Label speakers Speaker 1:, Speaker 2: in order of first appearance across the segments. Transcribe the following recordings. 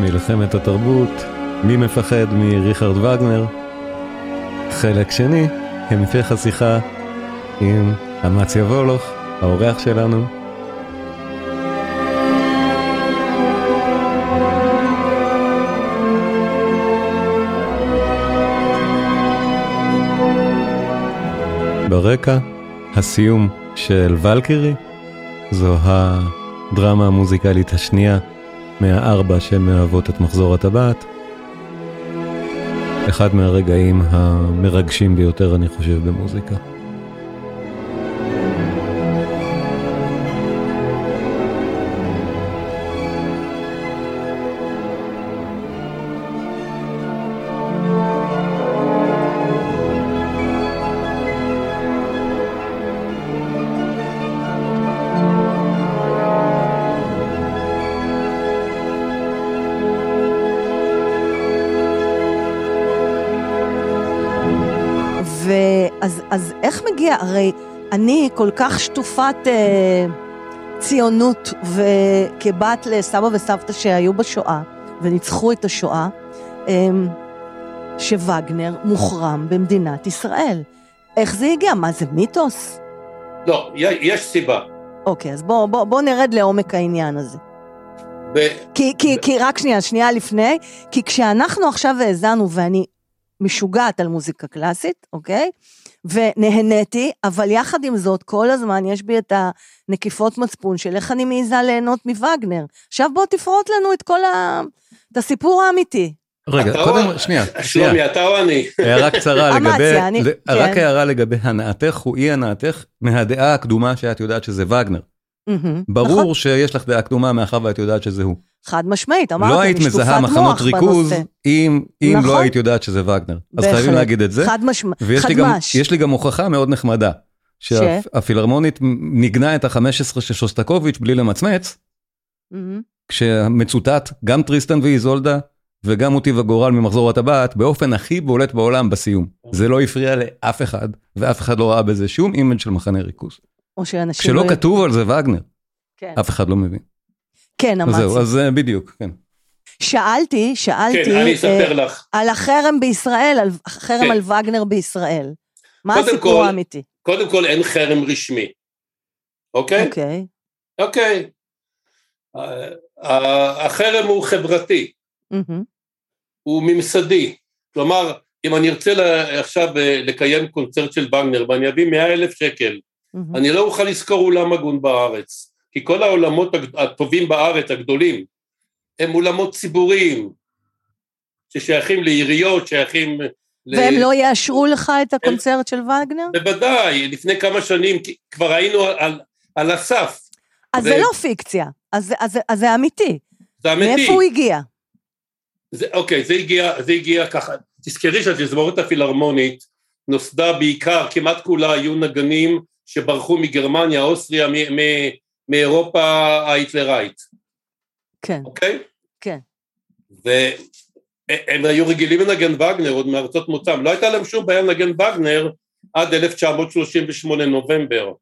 Speaker 1: מלחמת התרבות, מי מפחד מריכרד וגנר. חלק שני, המשך השיחה עם אמציה וולוך, האורח שלנו. ברקע, הסיום של ולקירי, זו הדרמה המוזיקלית השנייה מהארבע שמהוות את מחזור הטבעת. אחד מהרגעים המרגשים ביותר, אני חושב, במוזיקה.
Speaker 2: ואז אז איך מגיע? הרי אני כל כך שטופת אה, ציונות, וכבת לסבא וסבתא שהיו בשואה, וניצחו את השואה, אה, שווגנר מוחרם במדינת ישראל. איך זה הגיע? מה זה מיתוס?
Speaker 3: לא, י- יש סיבה.
Speaker 2: אוקיי, אז בואו בוא, בוא נרד לעומק העניין הזה.
Speaker 3: ב-
Speaker 2: כי, כי, כי רק שנייה, שנייה לפני, כי כשאנחנו עכשיו האזנו, ואני משוגעת על מוזיקה קלאסית, אוקיי? ונהניתי, אבל יחד עם זאת, כל הזמן יש בי את הנקיפות מצפון של איך אני מעיזה ליהנות מווגנר. עכשיו בוא תפרוט לנו את כל ה... את הסיפור האמיתי.
Speaker 1: רגע,
Speaker 3: אתה
Speaker 1: קודם,
Speaker 3: או-
Speaker 1: שנייה, שנייה.
Speaker 3: שלומי, אתה או אני?
Speaker 1: הערה קצרה
Speaker 2: אמציה,
Speaker 1: לגבי,
Speaker 2: אני-
Speaker 1: זה-
Speaker 2: כן.
Speaker 1: רק הערה לגבי הנאתך הוא אי הנאתך מהדעה הקדומה שאת יודעת שזה וגנר.
Speaker 2: מהמם. נכון?
Speaker 1: ברור שיש לך דעה קדומה מאחר ואת יודעת שזה הוא.
Speaker 2: חד משמעית, אמרתי,
Speaker 1: לא היית
Speaker 2: אני שטופת
Speaker 1: מזהה
Speaker 2: מוח
Speaker 1: מחנות ריכוז
Speaker 2: בנושא.
Speaker 1: אם אם
Speaker 2: נכון.
Speaker 1: לא היית יודעת שזה וגנר. אז
Speaker 2: בהחלט.
Speaker 1: חייבים להגיד את זה.
Speaker 2: חד משמעית,
Speaker 1: ויש
Speaker 2: חד
Speaker 1: לי גם,
Speaker 2: מש.
Speaker 1: יש לי גם הוכחה מאוד נחמדה. שהפילהרמונית ניגנה את ה-15 של שוסטקוביץ' בלי למצמץ,
Speaker 2: מהמם.
Speaker 1: כשמצוטט גם טריסטן ואיזולדה וגם מוטיב הגורל ממחזור הטבעת באופן הכי בולט בעולם בסיום. זה לא הפריע לאף אחד, ואף אחד לא ראה בזה שום אימג' של מחנה ריכוז.
Speaker 2: או שאנשים...
Speaker 1: כשלא
Speaker 2: לא-
Speaker 1: כתוב על זה וגנר,
Speaker 2: כן.
Speaker 1: אף אחד לא מבין.
Speaker 2: כן,
Speaker 1: אז זהו,
Speaker 2: אמרתי.
Speaker 1: אז אה, בדיוק, כן.
Speaker 2: שאלתי, שאלתי...
Speaker 3: כן, אני
Speaker 2: אה,
Speaker 3: אספר לך.
Speaker 2: על החרם בישראל, על החרם
Speaker 3: כן.
Speaker 2: על וגנר בישראל. מה
Speaker 3: קודם
Speaker 2: הסיפור
Speaker 3: כל-
Speaker 2: האמיתי?
Speaker 3: קודם כל, אין חרם רשמי, אוקיי?
Speaker 2: אוקיי.
Speaker 3: אוקיי. אה, ה- החרם הוא חברתי,
Speaker 2: מהמם.
Speaker 3: הוא ממסדי. כלומר, אם אני ארצה ל- עכשיו אה, לקיים קונצרט של וגנר ואני אביא 100 אלף שקל,
Speaker 2: מהמם.
Speaker 3: אני לא אוכל לשכור אולם הגון בארץ, כי כל האולמות הגד- הטובים בארץ, הגדולים, הם אולמות ציבוריים, ששייכים לעיריות, שייכים... ל-
Speaker 2: והם לא יאשרו לך את הקונצרט של וגנר?
Speaker 3: בוודאי, לפני כמה שנים כי כבר היינו על, על הסף,
Speaker 2: אז זה
Speaker 3: זה-
Speaker 2: לא פיקציה, אז זה- אז זה- אז זה אמיתי.
Speaker 3: זה אמיתי.
Speaker 2: מאיפה הוא הגיע?
Speaker 3: זה, אוקיי, זה הגיע, זה הגיע ככה. תזכרי שהתזמורת הפילהרמונית נוסדה בעיקר, כמעט כולה היו נגנים שברחו מגרמניה, אוסטריה, מ- מ- מאירופה ההיטלרית,
Speaker 2: כן,
Speaker 3: אוקיי?
Speaker 2: כן.
Speaker 3: והם היו רגילים לנגן וגנר עוד מארצות מוצאם, לא הייתה להם שום בעיה לנגן וגנר עד 1938 נובמבר.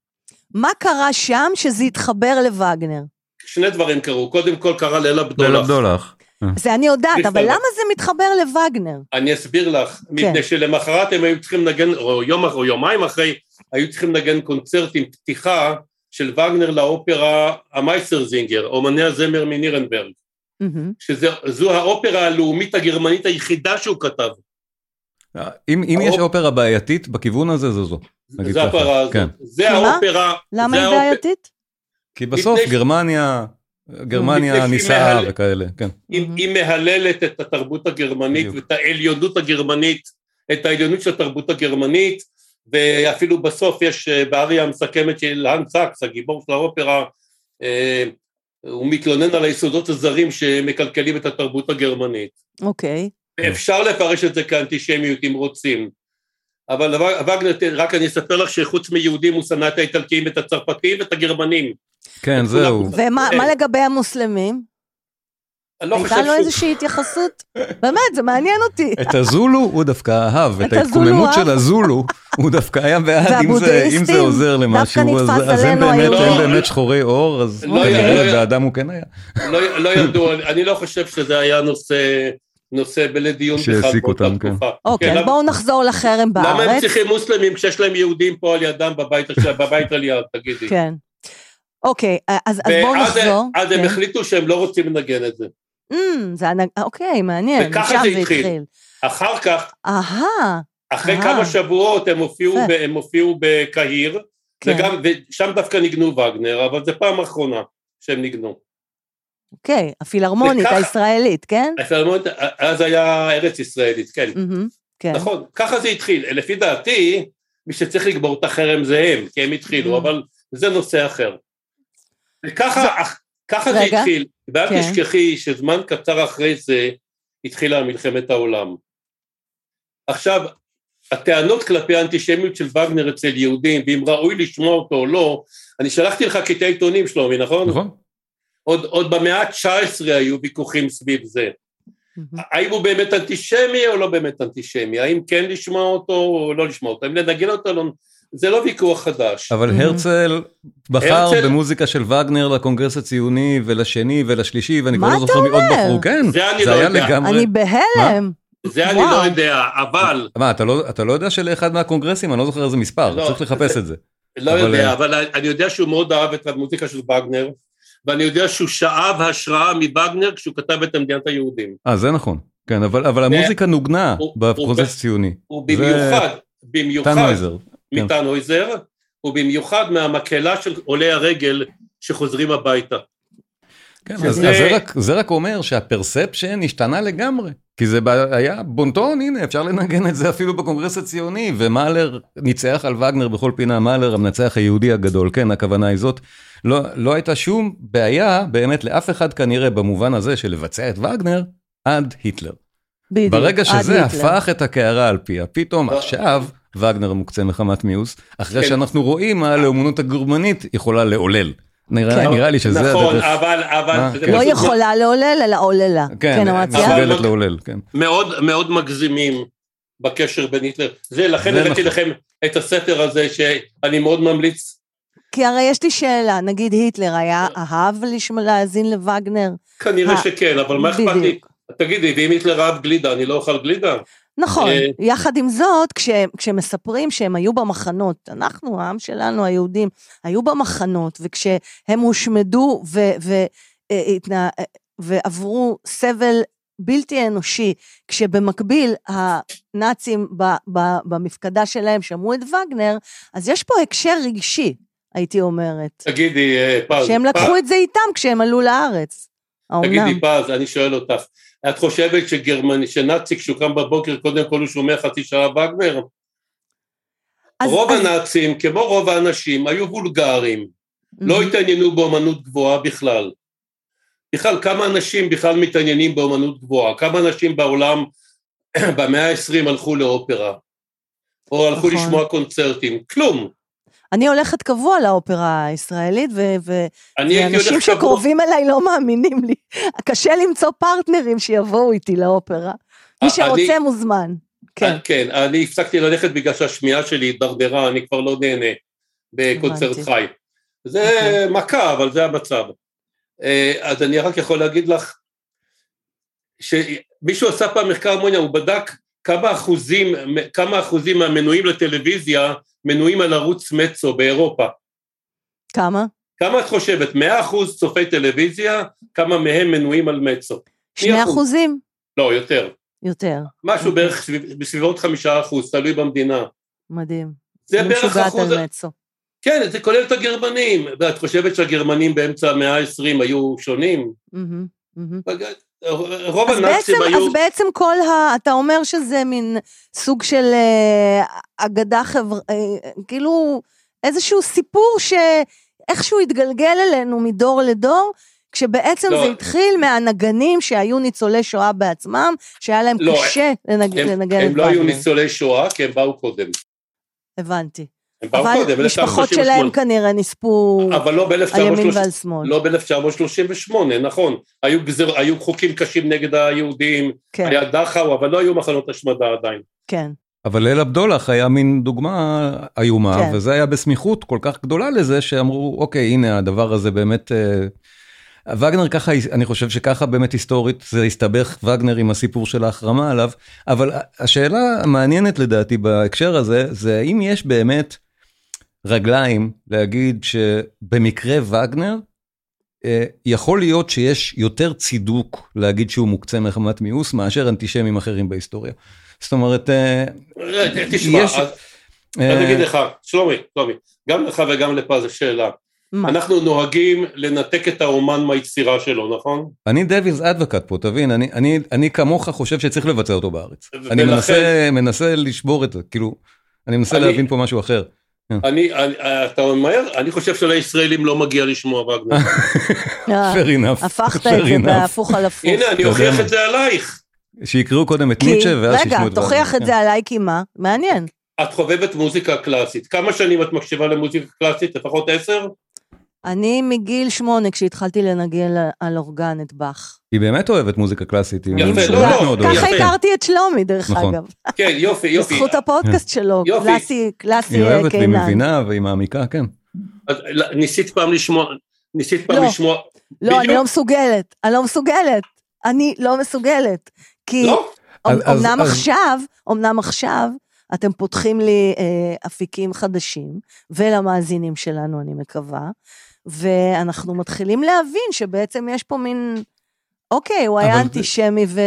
Speaker 2: מה קרה שם שזה התחבר לווגנר?
Speaker 3: שני דברים קרו, קודם כל קרה ליל
Speaker 1: דולח.
Speaker 3: הבדולח.
Speaker 1: דולח.
Speaker 2: זה אני יודעת,
Speaker 3: בכלל. לא.
Speaker 2: אבל למה זה מתחבר לווגנר?
Speaker 3: אני אסביר
Speaker 2: כן.
Speaker 3: לך, מפני שלמחרת הם היו צריכים לנגן, או יום אח- או יומיים אחרי, היו צריכים לנגן קונצרט עם פתיחה של וגנר לאופרה המייסרזינגר, אומני הזמר מנירנברג,
Speaker 2: מהמם.
Speaker 3: שזו האופרה הלאומית הגרמנית היחידה שהוא כתב,
Speaker 1: אם, אם יש
Speaker 3: האופ-
Speaker 1: אופרה בעייתית בכיוון הזה, זו זו. נגיד
Speaker 3: זו
Speaker 1: ככה,
Speaker 3: הפרה הזאת.
Speaker 1: כן.
Speaker 3: זה
Speaker 2: למה?
Speaker 3: האופרה,
Speaker 2: למה
Speaker 3: זה
Speaker 2: היא
Speaker 3: האופ-
Speaker 2: בעייתית?
Speaker 1: כי בסוף
Speaker 3: לפני ש-
Speaker 1: גרמניה,
Speaker 3: לפני
Speaker 1: גרמניה
Speaker 3: שהיא
Speaker 1: נישאה
Speaker 3: מהל-
Speaker 1: וכאלה, כן.
Speaker 3: היא
Speaker 2: Mm-hmm.
Speaker 3: היא מהללת את התרבות הגרמנית
Speaker 1: בדיוק.
Speaker 3: ואת העליונות הגרמנית, את העליונות של התרבות הגרמנית, ואפילו בסוף יש אה, באריה המסכמת של האן סאקס, הגיבור של האופרה, אה, הוא מתלונן על היסודות הזרים שמקלקלים את התרבות הגרמנית.
Speaker 2: אוקיי.
Speaker 3: אפשר לפרש את זה כאנטישמיות אם רוצים, אבל ו- וגנר, רק אני אספר לך שחוץ מיהודים הוא שנא את האיטלקים, את הצרפתים ואת הגרמנים.
Speaker 1: כן, זהו.
Speaker 3: כולם-
Speaker 2: ומה
Speaker 3: אה.
Speaker 2: מה לגבי המוסלמים?
Speaker 3: אני לא
Speaker 2: הייתה
Speaker 3: חושב
Speaker 2: לו
Speaker 3: שהוא...
Speaker 2: איזושהי התייחסות? באמת, זה מעניין אותי.
Speaker 3: כן,
Speaker 1: את הזולו הוא דווקא אהב, את
Speaker 2: את הזולו
Speaker 1: ההתקוממות
Speaker 2: אהב.
Speaker 1: של הזולו הוא דווקא היה בעד, אם זה- אם זה
Speaker 2: והבודהיסטים
Speaker 1: עוזר למשהו,
Speaker 2: דווקא
Speaker 1: אז
Speaker 2: נתפס
Speaker 1: אז הם
Speaker 2: עלינו
Speaker 1: באמת-
Speaker 3: היום.
Speaker 1: הם באמת שחורי עור, אז
Speaker 3: לא, לא,
Speaker 1: כנראה
Speaker 3: לא.
Speaker 1: באדם הוא כן היה.
Speaker 3: לא, לא ידוע, אני לא חושב שזה היה נושא, נושא בלדיון
Speaker 1: שהעסיק
Speaker 3: באותה
Speaker 1: אותם, כן.
Speaker 3: תקופה.
Speaker 2: אוקיי,
Speaker 3: כן,
Speaker 2: אז
Speaker 3: למה-
Speaker 2: בואו נחזור לחרם
Speaker 3: למה הם
Speaker 2: בארץ.
Speaker 3: צריכים מוסלמים כשיש להם יהודים פה על ידם בבית, הש- בבית על יד, תגידי.
Speaker 2: כן. אוקיי, אז אז בואו
Speaker 3: ואז-
Speaker 2: נחזור.
Speaker 3: אז הם
Speaker 2: כן.
Speaker 3: החליטו שהם לא רוצים לנגן את זה.
Speaker 2: אמ, זה הנג... אוקיי, מעניין.
Speaker 3: וככה
Speaker 2: משם
Speaker 3: זה התחיל. אחר כך,
Speaker 2: אהה,
Speaker 3: אחרי
Speaker 2: אה.
Speaker 3: כמה שבועות הם הופיעו
Speaker 2: יפה.
Speaker 3: ב- הם הופיעו בקהיר,
Speaker 2: כן,
Speaker 3: וגם, ושם דווקא ניגנו וגנר, אבל זו פעם אחרונה שהם ניגנו.
Speaker 2: אוקיי, הפילהרמונית
Speaker 3: וככה-
Speaker 2: הישראלית, כן?
Speaker 3: הפילהרמונית, אז היה ארץ ישראלית, כן.
Speaker 2: מהמם, כן.
Speaker 3: נכון, ככה זה התחיל. לפי דעתי, מי שצריך לגמור את החרם זה הם, כי הם התחילו,
Speaker 2: Mm.
Speaker 3: אבל זה נושא אחר. וככה אך- ככה זה
Speaker 2: רגע.
Speaker 3: התחיל, ואל
Speaker 2: כן.
Speaker 3: תשכחי שזמן קצר אחרי זה התחילה מלחמת העולם. עכשיו, הטענות כלפי האנטישמיות של וגנר אצל יהודים, ואם ראוי לשמוע אותו או לא, אני שלחתי לך קטעי עיתונים שלומי, נכון?
Speaker 1: נכון.
Speaker 3: עוד, עוד במאה ה-19 היו ויכוחים סביב זה.
Speaker 2: מהמם.
Speaker 3: האם הוא באמת אנטישמי או לא באמת אנטישמי, האם כן לשמוע אותו או לא לשמוע אותו, האם לנגן אותו או לא, זה לא ויכוח חדש.
Speaker 1: אבל
Speaker 2: Mhm.
Speaker 1: הרצל בחר
Speaker 3: הרצל-
Speaker 1: במוזיקה של וגנר לקונגרס הציוני ולשני ולשלישי, ואני כבר
Speaker 2: מה
Speaker 1: לא
Speaker 2: אתה
Speaker 1: זוכר מי עוד
Speaker 2: אומר?
Speaker 1: בחרו, כן,
Speaker 3: זה אני לא
Speaker 1: היה
Speaker 3: יודע.
Speaker 1: לגמרי.
Speaker 2: אני בהלם.
Speaker 3: זה אני
Speaker 2: וואו.
Speaker 3: לא יודע, אבל,
Speaker 1: מה, אתה לא- אתה לא יודע שלאחד מהקונגרסים, אני לא זוכר איזה מספר,
Speaker 3: לא,
Speaker 1: צריך לחפש
Speaker 3: זה-
Speaker 1: את זה.
Speaker 3: לא
Speaker 1: אבל, אה,
Speaker 3: יודע, אבל אני יודע שהוא מאוד אהב את המוזיקה של וגנר, ואני יודע שהוא שאב השראה מווגנר כשהוא כתב את מדינת היהודים.
Speaker 1: אה, זה נכון. כן, אבל אבל המוזיקה נוגנה
Speaker 3: הוא- הוא-
Speaker 1: בקונגרס הציוני.
Speaker 3: ובמיוחד, במיוחד
Speaker 1: טנויזר. כן.
Speaker 3: מטנויזר, ובמיוחד מהמקהלה של עולי הרגל שחוזרים הביתה.
Speaker 1: כן,
Speaker 3: שזה-
Speaker 1: אז, אז זה, רק, זה רק אומר שהפרספשן השתנה לגמרי, כי זה ב- היה בונטון, הנה, אפשר לנגן את זה אפילו בקונגרס הציוני, ומאלר ניצח על וגנר בכל פינה, מאלר המנצח היהודי הגדול, כן, הכוונה היא זאת. לא, לא הייתה שום בעיה, באמת, לאף אחד כנראה, במובן הזה של לבצע את וגנר, עד היטלר.
Speaker 2: בדיוק.
Speaker 1: ברגע
Speaker 2: עד
Speaker 1: שזה
Speaker 2: היטלר.
Speaker 1: הפך את הקערה על פיה, פתאום
Speaker 3: ב-
Speaker 1: עכשיו וגנר מוקצה מחמת מיאוס, אחרי
Speaker 3: לא. כן.
Speaker 1: שאנחנו רואים מה הלאומנות הגרמנית יכולה לעולל. נראה
Speaker 2: כן.
Speaker 1: נראה לי שזה הדרך.
Speaker 3: נכון, אבל,
Speaker 1: מה,
Speaker 3: אבל, זה
Speaker 1: כן. אה,
Speaker 2: לא
Speaker 3: פשוט
Speaker 2: יכולה לעולל, אלא עוללה. כן, אמרתי.
Speaker 3: אבל-
Speaker 1: מסוגלת לעולל, כן.
Speaker 3: מאוד מאוד מגזימים בקשר בין היטלר. זה, לכן
Speaker 1: זה
Speaker 3: הבאתי
Speaker 1: נכון.
Speaker 3: לכם את הספר הזה שאני מאוד ממליץ.
Speaker 2: כי הרי יש לי שאלה, נגיד היטלר היה אהב לשמ- להאזין לווגנר?
Speaker 3: כנראה
Speaker 2: אה,
Speaker 3: שכן, אבל מה אכפת לי?
Speaker 2: בדיוק.
Speaker 3: תגידי, ואם היטלר אהב גלידה, אני לא אוכל גלידה?
Speaker 2: נכון,
Speaker 3: אה,
Speaker 2: יחד עם זאת, כשהם, כשמספרים שהם היו במחנות, אנחנו, העם שלנו, היהודים, היו במחנות, וכשהם הושמדו ו, ו, אה, התנה, אה, ועברו סבל בלתי אנושי, כשבמקביל הנאצים ב, ב, במפקדה שלהם שמעו את וגנר, אז יש פה הקשר רגשי, הייתי אומרת,
Speaker 3: תגידי, אה, פז.
Speaker 2: שהם
Speaker 3: פז,
Speaker 2: לקחו את זה איתם כשהם עלו לארץ. האומנם?
Speaker 3: תגידי, פז, אני שואל אותך, את חושבת שגרמני, שנאצי, כשהוא קם בבוקר, קודם כל הוא שומע חצי שעה וגנר?
Speaker 2: אז-
Speaker 3: רוב
Speaker 2: אז-
Speaker 3: הנאצים, כמו רוב האנשים, היו וולגרים. לא התעניינו באמנות גבוהה בכלל. בכלל, כמה אנשים בכלל מתעניינים באמנות גבוהה? כמה אנשים בעולם במאה ה-20 הלכו לאופרה? או הלכו
Speaker 2: נכון.
Speaker 3: לשמוע קונצרטים? כלום.
Speaker 2: אני הולכת קבוע לאופרה הישראלית, ו- ו-
Speaker 3: אני הייתי הולך...
Speaker 2: ואנשים
Speaker 3: קבוע-
Speaker 2: שקרובים אליי לא מאמינים לי. קשה למצוא פרטנרים שיבואו איתי לאופרה. מי
Speaker 3: אה, אני-
Speaker 2: שרוצה מוזמן. כן,
Speaker 3: אה, כן, אני הפסקתי ללכת בגלל שהשמיעה שלי הידרדרה, אני כבר לא נהנה בקונצרט
Speaker 2: הבנתי.
Speaker 3: חי. זה
Speaker 2: אוקיי.
Speaker 3: מכה, אבל זה המצב. אה, אז אני רק יכול להגיד לך שמישהו עשה פעם מחקר מוניה, הוא בדק כמה אחוזים, כמה אחוזים מהמנויים לטלוויזיה מנויים על ערוץ מצו באירופה.
Speaker 2: כמה?
Speaker 3: כמה את חושבת? 100 אחוז צופי טלוויזיה, כמה מהם מנויים על מצו?
Speaker 2: שני
Speaker 3: אחוז.
Speaker 2: אחוזים?
Speaker 3: לא, יותר.
Speaker 2: יותר.
Speaker 3: משהו
Speaker 2: אוקיי.
Speaker 3: בערך סביב- בסביבות חמישה אחוז, תלוי במדינה.
Speaker 2: מדהים.
Speaker 3: זה
Speaker 2: אני
Speaker 3: בערך
Speaker 2: משוגעת
Speaker 3: אחוז,
Speaker 2: על מצו.
Speaker 3: כן, זה כולל את הגרמנים. ואת חושבת שהגרמנים באמצע המאה ה-20 היו שונים?
Speaker 2: מהמם, מהמם.
Speaker 3: רוב
Speaker 2: אז בעצם,
Speaker 3: הנאצים היו...
Speaker 2: אז בעצם כל ה... אתה אומר שזה מין סוג של אה, אגדה חברה... אה, כאילו איזשהו סיפור שאיכשהו התגלגל אלינו מדור לדור, כשבעצם
Speaker 3: לא.
Speaker 2: זה התחיל מהנגנים שהיו ניצולי שואה בעצמם, שהיה להם
Speaker 3: לא,
Speaker 2: קשה לנג...
Speaker 3: הם,
Speaker 2: לנגן את
Speaker 3: הם לא היו
Speaker 2: וגנר.
Speaker 3: ניצולי שואה, כי הם באו קודם.
Speaker 2: הבנתי.
Speaker 3: הם באו
Speaker 2: אבל
Speaker 3: קודם,
Speaker 2: משפחות שלהם
Speaker 3: 1938.
Speaker 2: כנראה נספו
Speaker 3: אבל לא
Speaker 2: על ימין
Speaker 3: ב-1938.
Speaker 2: ועל שמאל.
Speaker 3: לא ב-1938, נכון. היו, גזר, היו חוקים קשים נגד היהודים,
Speaker 2: כן,
Speaker 3: היה דכאו, אבל לא היו מחנות השמדה עדיין.
Speaker 2: כן.
Speaker 1: אבל אל עבדולח היה מין דוגמה איומה,
Speaker 2: כן.
Speaker 1: כן. וזה היה בסמיכות כל כך גדולה לזה, שאמרו, אוקיי, הנה הדבר הזה באמת... אה, וגנר ככה, אני חושב שככה באמת היסטורית זה הסתבך וגנר עם הסיפור של ההחרמה עליו, אבל השאלה המעניינת לדעתי בהקשר הזה, זה האם יש באמת רגליים להגיד שבמקרה וגנר, אה, יכול להיות שיש יותר צידוק להגיד שהוא מוקצה מחמת מיאוס מאשר אנטישמים אחרים בהיסטוריה. זאת אומרת, אה,
Speaker 3: רגע, תשמע,
Speaker 1: יש-
Speaker 2: אה,
Speaker 3: אז- אני
Speaker 1: אה,
Speaker 3: אגיד לך, שלומי, שלומי, גם לך וגם לפה זו שאלה.
Speaker 2: מה?
Speaker 3: אנחנו נוהגים לנתק את האומן מהיצירה שלו, נכון?
Speaker 1: אני דווילס אדווקט פה, תבין, אני, אני, אני כמוך חושב שצריך לבצע אותו בארץ.
Speaker 3: ולכן-
Speaker 1: אני מנסה, מנסה לשבור את זה, כאילו, אני מנסה
Speaker 3: אני-
Speaker 1: להבין פה משהו אחר.
Speaker 3: אני, אני- אתה ממהר? אני חושב שלישראלים לא מגיע לשמוע וגנר.
Speaker 2: אה,
Speaker 1: fair enough.
Speaker 2: הפכת את
Speaker 1: fair
Speaker 2: זה
Speaker 1: enough.
Speaker 2: בהפוך על הפוך.
Speaker 3: הנה, אני
Speaker 1: אתה יודע
Speaker 3: אוכיח
Speaker 1: מה?
Speaker 3: את זה עלייך.
Speaker 1: שיקראו קודם את
Speaker 2: כי-
Speaker 1: ניטשה ואז
Speaker 2: רגע,
Speaker 1: שישמעו את כן.
Speaker 2: תוכיח
Speaker 1: וגנר.
Speaker 2: את זה עליי כי מה? מעניין.
Speaker 3: את חובבת מוזיקה קלאסית. כמה שנים את מקשיבה למוזיקה קלאסית? לפחות עשר?
Speaker 2: אני מגיל שמונה, כשהתחלתי לנגן על- על אורגן את באך.
Speaker 1: היא באמת אוהבת מוזיקה קלאסית, היא
Speaker 3: יפה,
Speaker 1: באמת
Speaker 3: לא, לא,
Speaker 1: מאוד
Speaker 3: ככה
Speaker 1: אוהבת.
Speaker 2: ככה
Speaker 3: יפה.
Speaker 2: הכרתי את שלומי, דרך
Speaker 1: נכון.
Speaker 2: אגב.
Speaker 3: כן, יופי, יופי.
Speaker 2: בזכות הפודקאסט שלו,
Speaker 3: יופי.
Speaker 2: קלאסי, קלאסי
Speaker 1: היא
Speaker 2: אה,
Speaker 1: אוהבת, והיא
Speaker 2: קינן.
Speaker 1: מבינה והיא מעמיקה, כן.
Speaker 3: אז לא, ניסית פעם לשמוע, ניסית פעם
Speaker 2: לא.
Speaker 3: לשמוע...
Speaker 2: לא, אני
Speaker 3: בדיוק.
Speaker 2: לא מסוגלת, אני לא מסוגלת, אני לא מסוגלת. כי
Speaker 3: לא?
Speaker 2: אמ-
Speaker 1: אז- אז-
Speaker 2: אמנם
Speaker 1: אז-
Speaker 2: עכשיו, אמנם עכשיו, אתם פותחים לי אה, אפיקים חדשים, ולמאזינים שלנו, אני מקווה, ואנחנו מתחילים להבין שבעצם יש פה מין, אוקיי, הוא היה
Speaker 1: אבל-
Speaker 2: אנטישמי ו...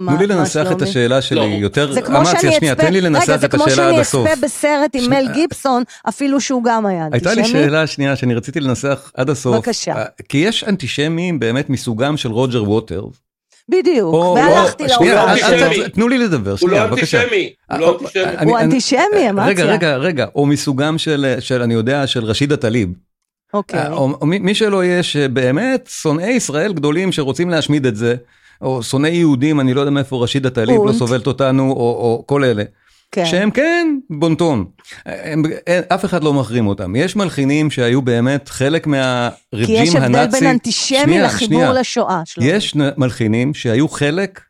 Speaker 2: מה-
Speaker 1: תנו לי
Speaker 2: מה
Speaker 1: לנסח את
Speaker 2: שלומי?
Speaker 1: השאלה שלי
Speaker 3: לא.
Speaker 1: יותר,
Speaker 2: זה כמו
Speaker 1: אמציה,
Speaker 2: שאני
Speaker 1: שנייה,
Speaker 2: אצפה,
Speaker 1: תן לי
Speaker 2: רגע,
Speaker 1: לנסח
Speaker 2: זה
Speaker 1: את
Speaker 2: כמו
Speaker 1: השאלה עד
Speaker 2: שאני
Speaker 1: הסוף.
Speaker 2: אצפה בסרט עם
Speaker 1: שנייה.
Speaker 2: מל גיבסון, אפילו שהוא גם היה
Speaker 1: הייתה לי
Speaker 2: אנטישמי.
Speaker 1: שאלה שנייה שאני רציתי לנסח עד הסוף.
Speaker 2: בבקשה.
Speaker 1: אה, כי יש אנטישמים באמת מסוגם של רוג'ר ווטרס,
Speaker 2: בדיוק,
Speaker 1: או-
Speaker 2: והלכתי
Speaker 1: או- שנייה,
Speaker 2: לאורגן
Speaker 1: אל- אל-
Speaker 2: שלו.
Speaker 3: אנטישמי.
Speaker 1: תנו לי לדבר,
Speaker 3: הוא לא
Speaker 1: שנייה, בבקשה.
Speaker 3: אנטישמי. הוא
Speaker 1: אה,
Speaker 3: לא אנטישמי.
Speaker 1: אני-
Speaker 2: הוא
Speaker 1: אני-
Speaker 2: אנטישמי, אמציה.
Speaker 1: רגע, רגע, רגע, או מסוגם של, של אני יודע, של רשידה טליב.
Speaker 2: אוקיי.
Speaker 1: אה, או, או מי, מי שלא יהיה, שבאמת שונאי ישראל גדולים שרוצים להשמיד את זה, או שונאי יהודים, אני לא יודע מאיפה רשידה טליב לא
Speaker 2: אונט.
Speaker 1: סובלת אותנו, או, או כל אלה.
Speaker 2: כן.
Speaker 1: שהם כן בונטון. אה, הם, אין, אף אחד לא מחרים אותם. יש מלחינים שהיו באמת חלק
Speaker 2: כי
Speaker 1: מהרג'ים הנאצי.
Speaker 2: יש הבדל בין אנטישמי
Speaker 1: שנייה,
Speaker 2: לחיבור
Speaker 1: שנייה.
Speaker 2: לשואה שלו.
Speaker 1: יש נ- מלחינים שהיו חלק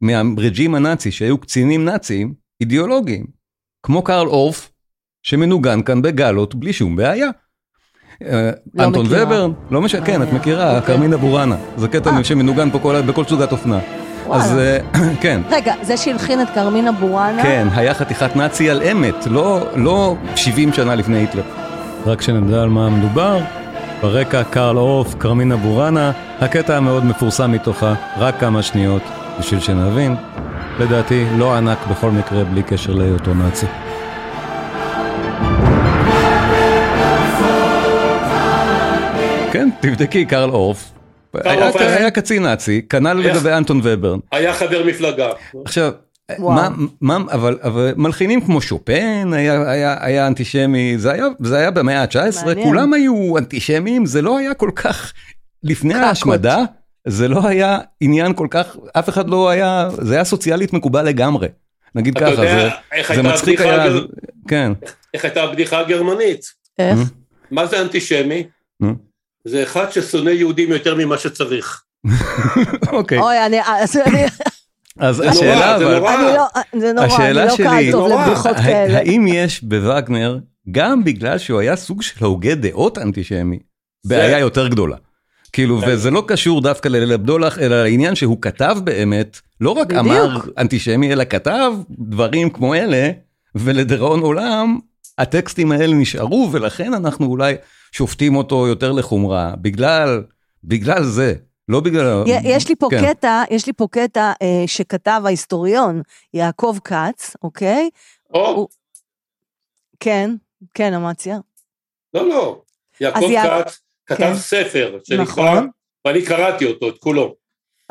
Speaker 1: מהרג'ים הנאצי, שהיו קצינים נאציים אידיאולוגיים, כמו קרל אורף, שמנוגן כאן בגלות בלי שום בעיה. אה,
Speaker 2: לא
Speaker 1: אנטון
Speaker 2: מכירה.
Speaker 1: ורברן, לא משנה, כן, את
Speaker 2: אה,
Speaker 1: מכירה,
Speaker 2: אוקיי.
Speaker 1: קרמינה בוראנה, זה קטע
Speaker 2: אה.
Speaker 1: שמנוגן פה כל- בכל תצוגת אופנה.
Speaker 2: וואלה.
Speaker 1: אז אה, כן,
Speaker 2: רגע, זה שהלחין את קרמינה בוראנה?
Speaker 1: כן, היה חתיכת נאצי על אמת, לא- לא 70 שנה לפני היטלר. רק שנדע על מה מדובר, ברקע קרל אוף, קרמינה בוראנה, הקטע המאוד מפורסם מתוכה, רק כמה שניות, בשביל שנבין. לדעתי, לא ענק בכל מקרה, בלי קשר להיותו נאצי. כן, תבדקי, קרל אוף. היה,
Speaker 3: אוף היה-
Speaker 1: היה קצין נאצי, כנ"ל
Speaker 3: איך?
Speaker 1: לגבי אנטון וברן.
Speaker 3: היה חבר מפלגה.
Speaker 1: עכשיו,
Speaker 2: וואו.
Speaker 1: מה, מה, אבל, אבל מלחינים כמו שופן היה, היה, היה אנטישמי, זה היה, זה היה במאה ה-19,
Speaker 2: מעניין.
Speaker 1: כולם היו אנטישמים, זה לא היה כל כך, לפני
Speaker 2: קקות.
Speaker 1: ההשמדה, זה לא היה עניין כל כך, אף אחד לא היה, זה היה סוציאלית מקובל לגמרי. נגיד
Speaker 3: אתה
Speaker 1: ככה,
Speaker 3: יודע
Speaker 1: זה,
Speaker 3: איך
Speaker 1: זה
Speaker 3: הייתה
Speaker 1: מצחיק
Speaker 3: הבדיחה
Speaker 1: היה,
Speaker 3: הגר-
Speaker 1: כן,
Speaker 3: איך הייתה הבדיחה הגרמנית?
Speaker 2: איך?
Speaker 3: מה זה אנטישמי?
Speaker 1: נו.
Speaker 3: זה אחד ששונא יהודים יותר ממה שצריך.
Speaker 1: אוקיי.
Speaker 2: אוי, אני אה, אז אני-
Speaker 1: אז
Speaker 3: זה
Speaker 1: השאלה,
Speaker 3: נורא, זה
Speaker 1: אבל,
Speaker 3: נורא.
Speaker 2: אני לא, זה נורא, אני
Speaker 1: השאלה
Speaker 2: לא
Speaker 1: שלי-
Speaker 2: קהל טוב
Speaker 3: נורא.
Speaker 2: לבדיחות
Speaker 1: הא-
Speaker 2: כאלה.
Speaker 1: האם יש בווגנר, גם בגלל שהוא היה סוג של הוגה דעות אנטישמי, בעיה יותר גדולה. כאילו,
Speaker 3: כן.
Speaker 1: וזה לא קשור דווקא לליל הבדולח, אלא לעניין שהוא כתב באמת, לא רק
Speaker 2: בדיוק.
Speaker 1: אמר אנטישמי, אלא כתב דברים כמו אלה, ולדיראון עולם, הטקסטים האלה נשארו, ולכן אנחנו אולי שופטים אותו יותר לחומרה, בגלל, בגלל זה, לא בגלל...
Speaker 2: י- יש לי פה
Speaker 1: כן.
Speaker 2: קטע, יש לי פה קטע אה, שכתב ההיסטוריון יעקב כץ, אוקיי?
Speaker 3: או,
Speaker 2: הוא- כן, כן, אמציה.
Speaker 3: לא, לא. יעקב
Speaker 2: אז יע-
Speaker 3: כץ
Speaker 2: כן.
Speaker 3: כתב ספר שנקרא,
Speaker 2: נכון.
Speaker 3: ואני קראתי אותו, את כולו.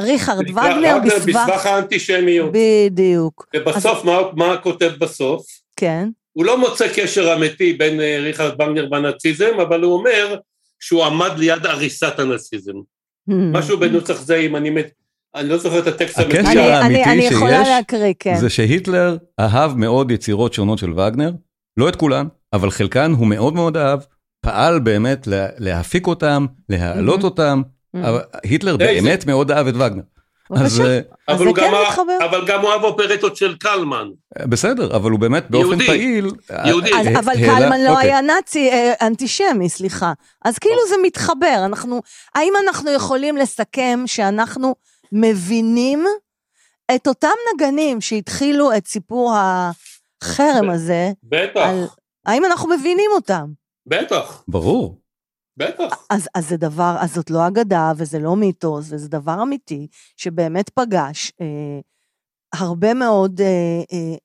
Speaker 2: ריכרד
Speaker 3: נקרא
Speaker 2: וגנר בסבך...
Speaker 3: בסבך האנטישמיות.
Speaker 2: בדיוק,
Speaker 3: ובסוף, מה- מה כותב בסוף?
Speaker 2: כן.
Speaker 3: הוא לא מוצא קשר אמיתי בין אה, ריכרד וגנר והנאציזם, אבל הוא אומר שהוא עמד ליד עריסת הנאציזם.
Speaker 2: Mm-hmm.
Speaker 3: משהו בנוסח זה, אם אני מת... אני לא זוכר את הטקסט
Speaker 1: הקשר
Speaker 2: Hmm.
Speaker 3: המדויק.
Speaker 2: אני- אני-
Speaker 1: האמיתי
Speaker 2: אני יכולה
Speaker 1: שיש
Speaker 2: להקריא, כן.
Speaker 1: זה שהיטלר אהב מאוד יצירות שונות של וגנר, לא את כולן, אבל חלקן הוא מאוד מאוד אהב, פעל באמת לה, להפיק אותם, להעלות
Speaker 2: Mhm.
Speaker 1: אותם.
Speaker 2: Mm.
Speaker 1: אבל היטלר
Speaker 3: איזה-
Speaker 1: באמת מאוד אהב את וגנר. אז
Speaker 2: בבקשה. אז
Speaker 3: אבל
Speaker 2: זה
Speaker 3: הוא
Speaker 2: כן
Speaker 3: גם אהב-
Speaker 2: מתחבר.
Speaker 3: אבל גם הוא אהב אופרטות של קלמן.
Speaker 1: אה, בסדר, אבל הוא באמת באופן
Speaker 3: יהודי.
Speaker 1: פעיל.
Speaker 3: יהודי.
Speaker 1: אה,
Speaker 2: אז,
Speaker 1: אה,
Speaker 2: אבל
Speaker 1: העלה-
Speaker 2: קלמן לא
Speaker 1: אוקיי.
Speaker 2: היה נאצי, אה, אנטישמי, סליחה. אז כאילו זה מתחבר, אנחנו, האם אנחנו יכולים לסכם שאנחנו מבינים את אותם נגנים שהתחילו את סיפור החרם הזה,
Speaker 3: בטח,
Speaker 2: על- האם אנחנו מבינים אותם?
Speaker 3: בטח,
Speaker 1: ברור.
Speaker 3: בטח.
Speaker 2: אז, אז זה דבר, אז זאת לא אגדה וזה לא מיתוס, וזה דבר אמיתי שבאמת פגש אה, הרבה מאוד אה, אה,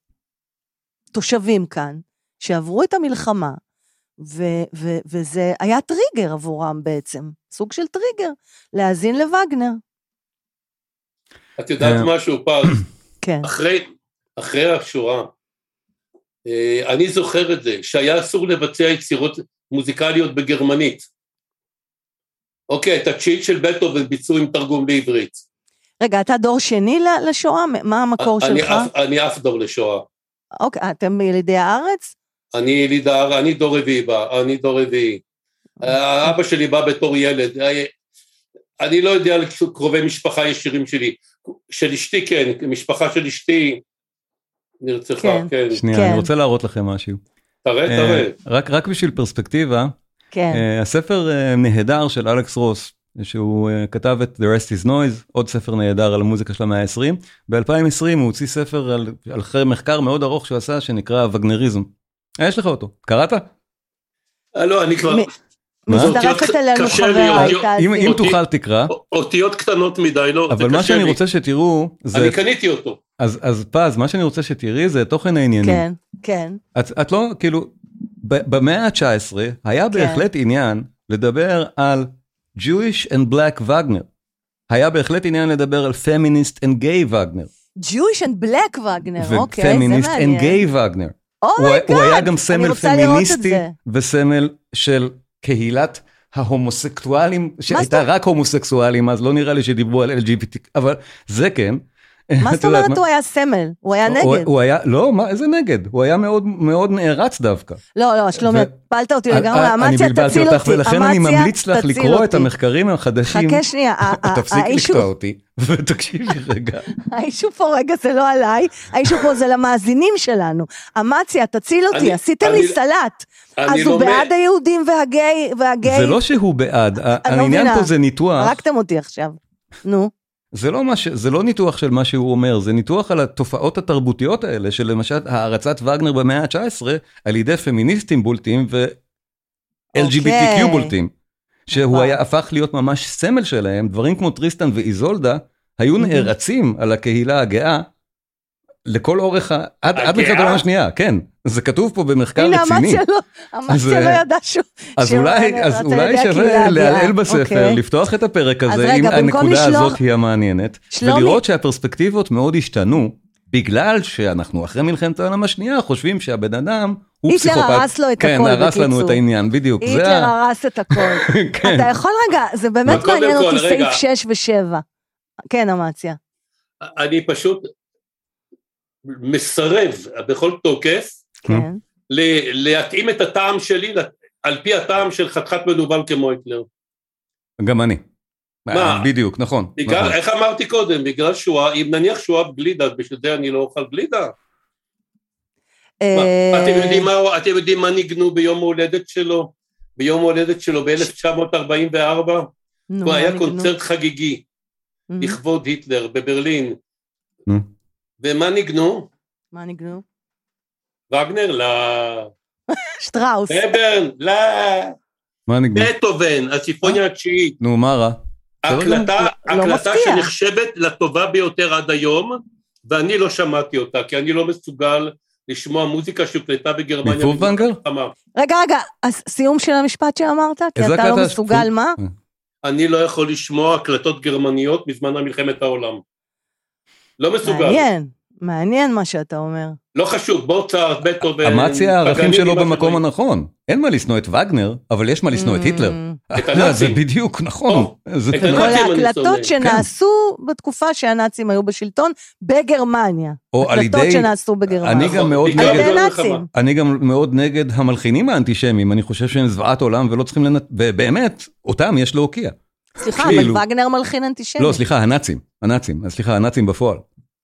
Speaker 2: תושבים כאן, שעברו את המלחמה, ו, ו, וזה היה טריגר עבורם בעצם, סוג של טריגר, להאזין לווגנר.
Speaker 3: את יודעת
Speaker 1: אה.
Speaker 3: משהו, פז?
Speaker 2: כן.
Speaker 3: אחרי, אחרי השורה, אה, אני זוכר את זה, שהיה אסור לבצע יצירות מוזיקליות בגרמנית. אוקיי, את התשיעית של בטהובן ביצעו עם תרגום לעברית.
Speaker 2: רגע, אתה דור שני ל- לשואה? מה המקור
Speaker 3: אני
Speaker 2: שלך?
Speaker 3: אף- אני אף דור לשואה.
Speaker 2: אוקיי, אתם ילידי הארץ?
Speaker 3: אני יליד הארץ, אני דור רביעי בא, אני דור רביעי. אה, אבא שלי בא בתור ילד. אה, אני לא יודע על קרובי משפחה ישירים שלי. של אשתי כן, משפחה של אשתי נרצחה,
Speaker 2: כן.
Speaker 3: כן.
Speaker 2: כן.
Speaker 1: שנייה, אני רוצה להראות לכם משהו.
Speaker 3: תראה,
Speaker 1: אה,
Speaker 3: תראה.
Speaker 1: רק רק בשביל פרספקטיבה,
Speaker 2: כן.
Speaker 1: אה, הספר אה, נהדר של אלכס רוס, שהוא אה, כתב את The Rest is Noise, עוד ספר נהדר על המוזיקה של המאה ה-20. ב-2020 הוא הוציא ספר על- על אחרי מחקר מאוד ארוך שהוא עשה, שנקרא וגנריזם. אה, יש לך אותו, קראת?
Speaker 3: אה, לא, אני כבר...
Speaker 2: מ-
Speaker 1: מה?
Speaker 2: מצטרפת אלינו
Speaker 3: קשה לי, כן.
Speaker 2: חברה,
Speaker 3: אותי-
Speaker 2: הייתה...
Speaker 1: אם אם
Speaker 3: אותי-
Speaker 1: תוכל תקרא,
Speaker 3: אותיות קטנות מדי, לא, זה
Speaker 1: אבל מה
Speaker 3: קשה
Speaker 1: שאני
Speaker 3: לי.
Speaker 1: רוצה שתראו, זה-
Speaker 3: אני קניתי אותו.
Speaker 1: אז אז פז, מה שאני רוצה שתראי זה תוכן העניינים.
Speaker 2: כן, כן.
Speaker 1: את, את לא, כאילו, ב- במאה ה-19 היה כן. בהחלט עניין לדבר על Jewish and Black Wagner. היה בהחלט עניין לדבר על Feminist and Gay Wagner.
Speaker 2: Jewish and Black Wagner, אוקיי, זה מעניין.
Speaker 1: ו-Feminist and Gay Wagner. הוא,
Speaker 2: אומייגאד,
Speaker 1: הוא היה גם
Speaker 2: אני
Speaker 1: סמל
Speaker 2: רוצה לראות את
Speaker 1: פמיניסטי
Speaker 2: זה.
Speaker 1: וסמל של קהילת ההומוסקטואלים, שהייתה
Speaker 2: זאת-
Speaker 1: רק הומוסקסואלים, אז לא נראה לי שדיברו על LGBT, אבל זה כן.
Speaker 2: מה
Speaker 1: את
Speaker 2: זאת
Speaker 1: יודעת
Speaker 2: אומרת הוא היה סמל? הוא היה
Speaker 1: הוא,
Speaker 2: נגד.
Speaker 1: הוא היה, לא, מה, איזה נגד? הוא היה מאוד, מאוד נערץ דווקא.
Speaker 2: לא, לא, שלומי,
Speaker 1: ו-
Speaker 2: הפלת אותי
Speaker 1: אה,
Speaker 2: לגמרי,
Speaker 1: אה,
Speaker 2: אמציה
Speaker 1: אני בלבלתי
Speaker 2: תציל
Speaker 1: אותך,
Speaker 2: אותי.
Speaker 1: ולכן אני
Speaker 2: אמציה,
Speaker 1: ממליץ לך
Speaker 2: תציל
Speaker 1: לקרוא את
Speaker 2: אותי.
Speaker 1: המחקרים החדשים.
Speaker 2: חכה שנייה, ה- ה-
Speaker 1: תפסיקי
Speaker 2: האישו-
Speaker 1: לקטוע אותי, ותקשיבי רגע.
Speaker 2: האישו פה רגע זה לא עליי, האישו פה זה למאזינים שלנו. אמציה, תציל אותי,
Speaker 3: אני-
Speaker 2: עשיתם
Speaker 3: אני-
Speaker 2: לי סלט.
Speaker 3: אני
Speaker 2: אז הוא
Speaker 3: לומד,
Speaker 2: בעד היהודים והגיי,
Speaker 1: זה
Speaker 2: והגיי,
Speaker 1: לא שהוא בעד, ה-
Speaker 2: אני לא
Speaker 1: העניין
Speaker 2: מבינה.
Speaker 1: פה זה ניתוח,
Speaker 2: הרגתם אותי עכשיו. נו,
Speaker 1: זה לא מה ש- זה לא ניתוח של מה שהוא אומר, זה ניתוח על התופעות התרבותיות האלה, של למשל הערצת וגנר במאה ה-19, על ידי פמיניסטים בולטים ו-LGBTQ
Speaker 2: אוקיי.
Speaker 1: בולטים, שהוא
Speaker 2: נכון.
Speaker 1: היה הפך להיות ממש סמל שלהם, דברים כמו טריסטן ואיזולדה, היו
Speaker 2: מהמם.
Speaker 1: נערצים על הקהילה הגאה. לכל אורך, ה- עד עד
Speaker 3: הגאה?
Speaker 1: מלחמת העולם השנייה, כן, זה כתוב פה במחקר
Speaker 2: הנה
Speaker 1: רציני.
Speaker 2: אמציה לא, אמציה
Speaker 1: אה,
Speaker 2: לא ידע שהוא...
Speaker 1: אז
Speaker 2: שהוא
Speaker 1: אולי,
Speaker 2: מעניין,
Speaker 1: אז
Speaker 2: אתה
Speaker 1: אולי
Speaker 2: יודע, קהילה
Speaker 1: שווה
Speaker 2: הגאה.
Speaker 1: לעלעל בספר,
Speaker 2: אוקיי.
Speaker 1: לפתוח את הפרק
Speaker 2: אז
Speaker 1: הזה,
Speaker 2: רגע,
Speaker 1: אם
Speaker 2: במקום
Speaker 1: הנקודה
Speaker 2: לשלוח-
Speaker 1: הזאת היא המעניינת,
Speaker 2: שלומי-
Speaker 1: ולראות שהפרספקטיבות מאוד השתנו, בגלל שאנחנו אחרי מלחמת העולם השנייה חושבים שהבן אדם הוא
Speaker 2: היטלר
Speaker 1: פסיכופת.
Speaker 2: הרס לו את
Speaker 1: כן,
Speaker 2: הכל,
Speaker 1: הרס לנו
Speaker 2: בקיצור.
Speaker 1: את העניין, בדיוק. זה
Speaker 2: היטלר
Speaker 1: ה-
Speaker 2: הרס את הכל.
Speaker 1: כן.
Speaker 2: אתה יכול רגע, זה באמת
Speaker 3: אבל קודם
Speaker 2: מעניין
Speaker 3: כל,
Speaker 2: אותי סעיף
Speaker 3: רגע.
Speaker 2: 6 ו-7. כן, אמציה.
Speaker 3: אני פשוט מסרב בכל תוקף
Speaker 2: כן.
Speaker 3: ל- להתאים את הטעם שלי לת- על פי הטעם של חתיכת מנוול כמו היטלר.
Speaker 1: גם אני.
Speaker 3: מה?
Speaker 1: בדיוק, נכון.
Speaker 3: בגלל,
Speaker 1: נכון.
Speaker 3: איך אמרתי קודם, בגלל שואה, אם נניח שואה גלידה, אז בשביל זה אני לא אוכל גלידה. מה,
Speaker 2: אה,
Speaker 3: אתם יודעים מה- אתם יודעים מה ניגנו ביום ההולדת שלו? ביום ההולדת שלו ב-1944?
Speaker 2: נו,
Speaker 3: הוא היה
Speaker 2: ניגנו.
Speaker 3: קונצרט חגיגי
Speaker 2: מ,
Speaker 3: לכבוד היטלר בברלין.
Speaker 1: נו.
Speaker 3: ומה ניגנו?
Speaker 2: מה ניגנו?
Speaker 3: וגנר? לא.
Speaker 2: שטראוס.
Speaker 3: וברן? לא.
Speaker 1: מה
Speaker 3: אה,
Speaker 1: נגמר?
Speaker 3: בטהובן, הסימפוניה התשיעית.
Speaker 1: נו, מה
Speaker 3: אה,
Speaker 1: רע? בסדר גמור.
Speaker 3: הקלטה,
Speaker 2: אה? לא
Speaker 3: הקלטה
Speaker 2: מפתיע.
Speaker 3: שנחשבת לטובה ביותר עד היום, ואני לא שמעתי אותה, כי אני לא מסוגל לשמוע מוזיקה שהוקלטה בגרמניה. לא
Speaker 1: מפורבנגר?
Speaker 3: במלחמה.
Speaker 2: רגע, רגע, אז סיום של המשפט שאמרת? כי
Speaker 1: איזה
Speaker 2: אתה לא
Speaker 1: הקלטה?
Speaker 2: מסוגל, מה?
Speaker 3: אני לא יכול לשמוע הקלטות גרמניות מזמן מלחמת העולם. לא מסוגל.
Speaker 2: מעניין, מעניין מה שאתה אומר.
Speaker 3: לא חשוב, מוצרט, בטהובן.
Speaker 1: אמציה הערכים
Speaker 3: פגאניני,
Speaker 1: שלו
Speaker 3: מה
Speaker 1: במקום
Speaker 3: שבא.
Speaker 1: הנכון. אין מה לשנוא את וגנר, אבל יש מה לשנוא את היטלר.
Speaker 2: Mm.
Speaker 3: את
Speaker 1: לא, זה
Speaker 3: הנאצים.
Speaker 1: בדיוק נכון.
Speaker 3: או,
Speaker 1: זה-
Speaker 3: את הנאצים.
Speaker 2: כל
Speaker 3: לא אני
Speaker 2: ההקלטות
Speaker 3: שונא.
Speaker 2: שנעשו בתקופה שהנאצים היו בשלטון בגרמניה.
Speaker 1: או על
Speaker 2: הקלטות
Speaker 1: ידי-
Speaker 2: שנעשו בגרמניה.
Speaker 1: אני גם מאוד
Speaker 2: על
Speaker 3: נכון. בגלל
Speaker 1: נגד-
Speaker 2: ידי
Speaker 3: זה
Speaker 2: הנאצים.
Speaker 3: המלחמה.
Speaker 1: אני גם מאוד נגד המלחינים האנטישמים, אני חושב שהם זוועת עולם ולא צריכים לנ... ובאמת, אותם יש להוקיע.
Speaker 2: סליחה,
Speaker 1: כאילו.
Speaker 2: אבל וגנר מלחין אנטישמי.
Speaker 1: לא, סליחה, הנאצים. הנאצים, אז סליחה, הנאצים בפועל.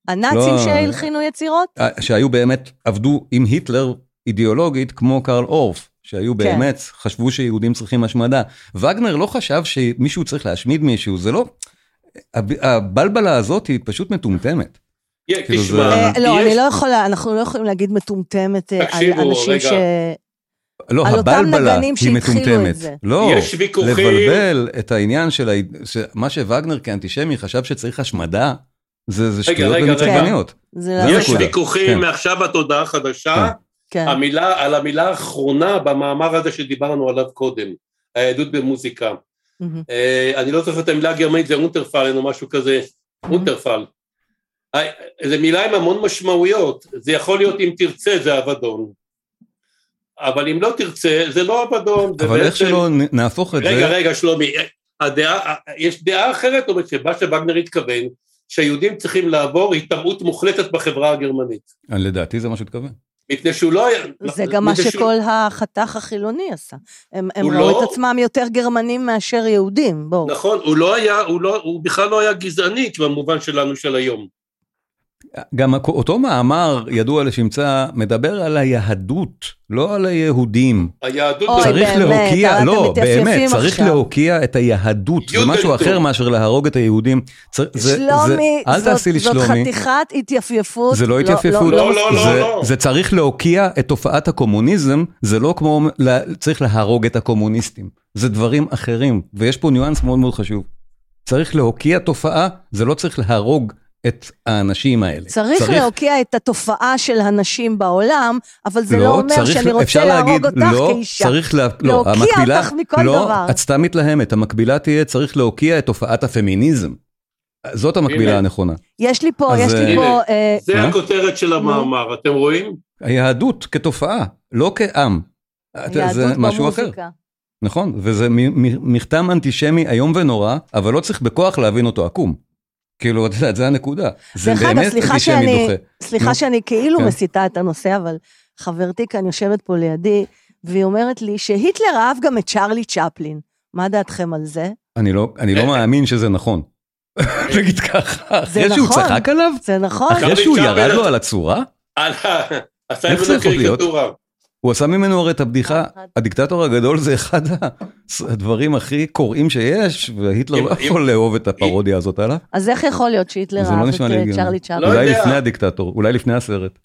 Speaker 2: הנאצים
Speaker 1: לא.
Speaker 2: שהלחינו יצירות?
Speaker 1: אה, שהיו באמת, עבדו עם היטלר אידיאולוגית כמו קרל אורף, שהיו
Speaker 2: כן.
Speaker 1: באמת, חשבו שיהודים צריכים השמדה. וגנר לא חשב שמישהו צריך להשמיד מישהו, זה לא... הב- הבלבלה הזאת היא פשוט מטומטמת.
Speaker 3: יה,
Speaker 1: כאילו
Speaker 3: כן, תשמע,
Speaker 1: זה-
Speaker 2: אה, לא,
Speaker 3: יש-
Speaker 2: אני לא יכולה, אנחנו לא יכולים להגיד מטומטמת אה, על
Speaker 3: תקשיבו,
Speaker 2: אנשים
Speaker 3: רגע.
Speaker 2: ש...
Speaker 1: לא,
Speaker 2: על אותם
Speaker 1: הבלבלה
Speaker 2: נגנים
Speaker 1: היא
Speaker 2: שהתחילו את
Speaker 1: מטומטמת.
Speaker 2: זה.
Speaker 1: לא,
Speaker 3: יש ויכוחים.
Speaker 1: לבלבל את העניין של ה... ש- מה שווגנר כאנטישמי חשב שצריך השמדה, זה זה
Speaker 3: רגע,
Speaker 1: שטויות
Speaker 3: רגע,
Speaker 1: ומצגניות.
Speaker 2: זה
Speaker 1: זה
Speaker 2: לא
Speaker 3: יש
Speaker 1: לכולם.
Speaker 2: נכון.
Speaker 3: ויכוחים
Speaker 1: כן.
Speaker 3: מעכשיו עד הודעה חדשה,
Speaker 1: כן.
Speaker 2: כן.
Speaker 3: המילה, על המילה האחרונה במאמר הזה שדיברנו עליו קודם, היהדות במוזיקה.
Speaker 2: מהמם.
Speaker 3: אה, אני לא זוכר את המילה הגרמנית, זה אונטרפלן או משהו כזה, אונטרפל. אה, זו מילה עם המון משמעויות, זה יכול להיות אם תרצה זה אבדון, אבל אם לא תרצה זה לא אבדון. זה
Speaker 1: אבל איך
Speaker 3: בעצם-
Speaker 1: שלא נ- נהפוך את
Speaker 3: רגע,
Speaker 1: זה,
Speaker 3: רגע, שלומי, הדעה, יש דעה אחרת, אומרת שמה שווגנר התכוון, שהיהודים צריכים לעבור התעמרות מוחלטת בחברה הגרמנית.
Speaker 1: לדעתי זה מה שהוא התכוון.
Speaker 3: מפני שהוא לא היה...
Speaker 2: זה גם מה
Speaker 3: מפני שהוא-
Speaker 2: שכל החתך החילוני עשה. הם הם
Speaker 3: הוא
Speaker 2: ראו
Speaker 3: לא-
Speaker 2: את עצמם יותר גרמנים מאשר יהודים, בואו.
Speaker 3: נכון, הוא לא היה, הוא לא, הוא בכלל לא היה גזעני במובן שלנו של היום.
Speaker 1: גם הכ- אותו מאמר ידוע לשמצה מדבר על היהדות, לא על היהודים.
Speaker 3: היהדות...
Speaker 2: אוי,
Speaker 1: צריך
Speaker 2: באמת, אבל
Speaker 1: להוקיע,
Speaker 2: אתם
Speaker 1: לא,
Speaker 2: מתייפייפים
Speaker 1: באמת, צריך
Speaker 2: עכשיו.
Speaker 1: להוקיע את היהדות, זה
Speaker 3: יודנטום.
Speaker 1: משהו אחר מאשר להרוג את היהודים. צר- זה- זה-
Speaker 2: שלומי,
Speaker 1: אל
Speaker 2: זאת-
Speaker 1: תעשי לי
Speaker 2: זאת
Speaker 1: שלומי.
Speaker 2: חתיכת התייפייפות.
Speaker 1: זה לא התייפייפות,
Speaker 3: לא, לא, לא,
Speaker 1: זה-
Speaker 3: לא.
Speaker 1: זה צריך להוקיע את תופעת הקומוניזם, זה לא כמו, לה- צריך להרוג את הקומוניסטים, זה דברים אחרים, ויש פה ניואנס מאוד מאוד חשוב. צריך להוקיע תופעה, זה לא צריך להרוג את האנשים האלה.
Speaker 2: צריך להוקיע את התופעה של הנשים בעולם, אבל זה לא אומר
Speaker 1: צריך-
Speaker 2: שאני רוצה
Speaker 1: אפשר
Speaker 2: להרוג אותך
Speaker 1: לא,
Speaker 2: כאישה.
Speaker 1: צריך לה, לא,
Speaker 2: להוקיע
Speaker 1: המקבילה,
Speaker 2: אותך מכל
Speaker 1: לא,
Speaker 2: דבר.
Speaker 1: את סתם מתלהמת, המקבילה תהיה, צריך להוקיע את תופעת הפמיניזם. זאת המקבילה
Speaker 3: הנה.
Speaker 1: הנכונה.
Speaker 2: יש לי פה,
Speaker 1: אז,
Speaker 2: יש לי
Speaker 1: אה,
Speaker 2: פה,
Speaker 3: הנה.
Speaker 2: אה,
Speaker 3: זה
Speaker 1: מה?
Speaker 3: הכותרת של המאמר, אתם רואים?
Speaker 1: היהדות כתופה, לא כעם. זה
Speaker 2: יהדות
Speaker 1: משהו אחר.
Speaker 2: במוזיקה.
Speaker 1: נכון, וזה מ- מ- מכתם אנטישמי איום ונורא, אבל לא צריך בכוח להבין אותו עקום. כאילו, את יודעת, זה הנקודה. זה
Speaker 2: דרך אגב,
Speaker 1: באמת
Speaker 2: סליחה
Speaker 1: אנטישמי
Speaker 2: שאני-
Speaker 1: דוחה.
Speaker 2: סליחה
Speaker 1: נו.
Speaker 2: שאני כאילו
Speaker 1: כן.
Speaker 2: מסיטה את הנושא, אבל חברתי כאן יושבת פה לידי, והיא אומרת לי שהיטלר אהב גם את צ'רלי צ'פלין. מה דעתכם על זה?
Speaker 1: אני לא- אני לא
Speaker 3: אה,
Speaker 1: מאמין שזה נכון. נגיד ככה,
Speaker 2: זה
Speaker 1: אחרי שהוא
Speaker 2: נכון.
Speaker 1: צחק עליו?
Speaker 2: זה נכון?
Speaker 1: אחרי
Speaker 3: צ'רלי
Speaker 1: שהוא
Speaker 3: צ'פלין
Speaker 1: ירד לו
Speaker 3: אתה-
Speaker 1: על הצורה?
Speaker 3: על ה- עשה
Speaker 1: איך זה
Speaker 3: ממנו
Speaker 1: יכול להיות?
Speaker 3: קריקטורה.
Speaker 1: הוא עשה ממנו הרי את הבדיחה, הדיקטטור הגדול זה אחד הדברים הכי קוראים שיש, והיטלר
Speaker 3: אם-
Speaker 1: לא
Speaker 3: אם-
Speaker 1: יכול לאהוב את הפרודיה הזאת עליו.
Speaker 2: אז איך יכול להיות שהיטלר
Speaker 1: זה לא
Speaker 2: אהב את
Speaker 1: נשמע לי
Speaker 2: אה,
Speaker 1: הגיוני.
Speaker 2: צ'רלי צ'פלין?
Speaker 3: לא
Speaker 1: אולי
Speaker 3: יודע.
Speaker 1: לפני הדיקטטור, אולי לפני הסרט.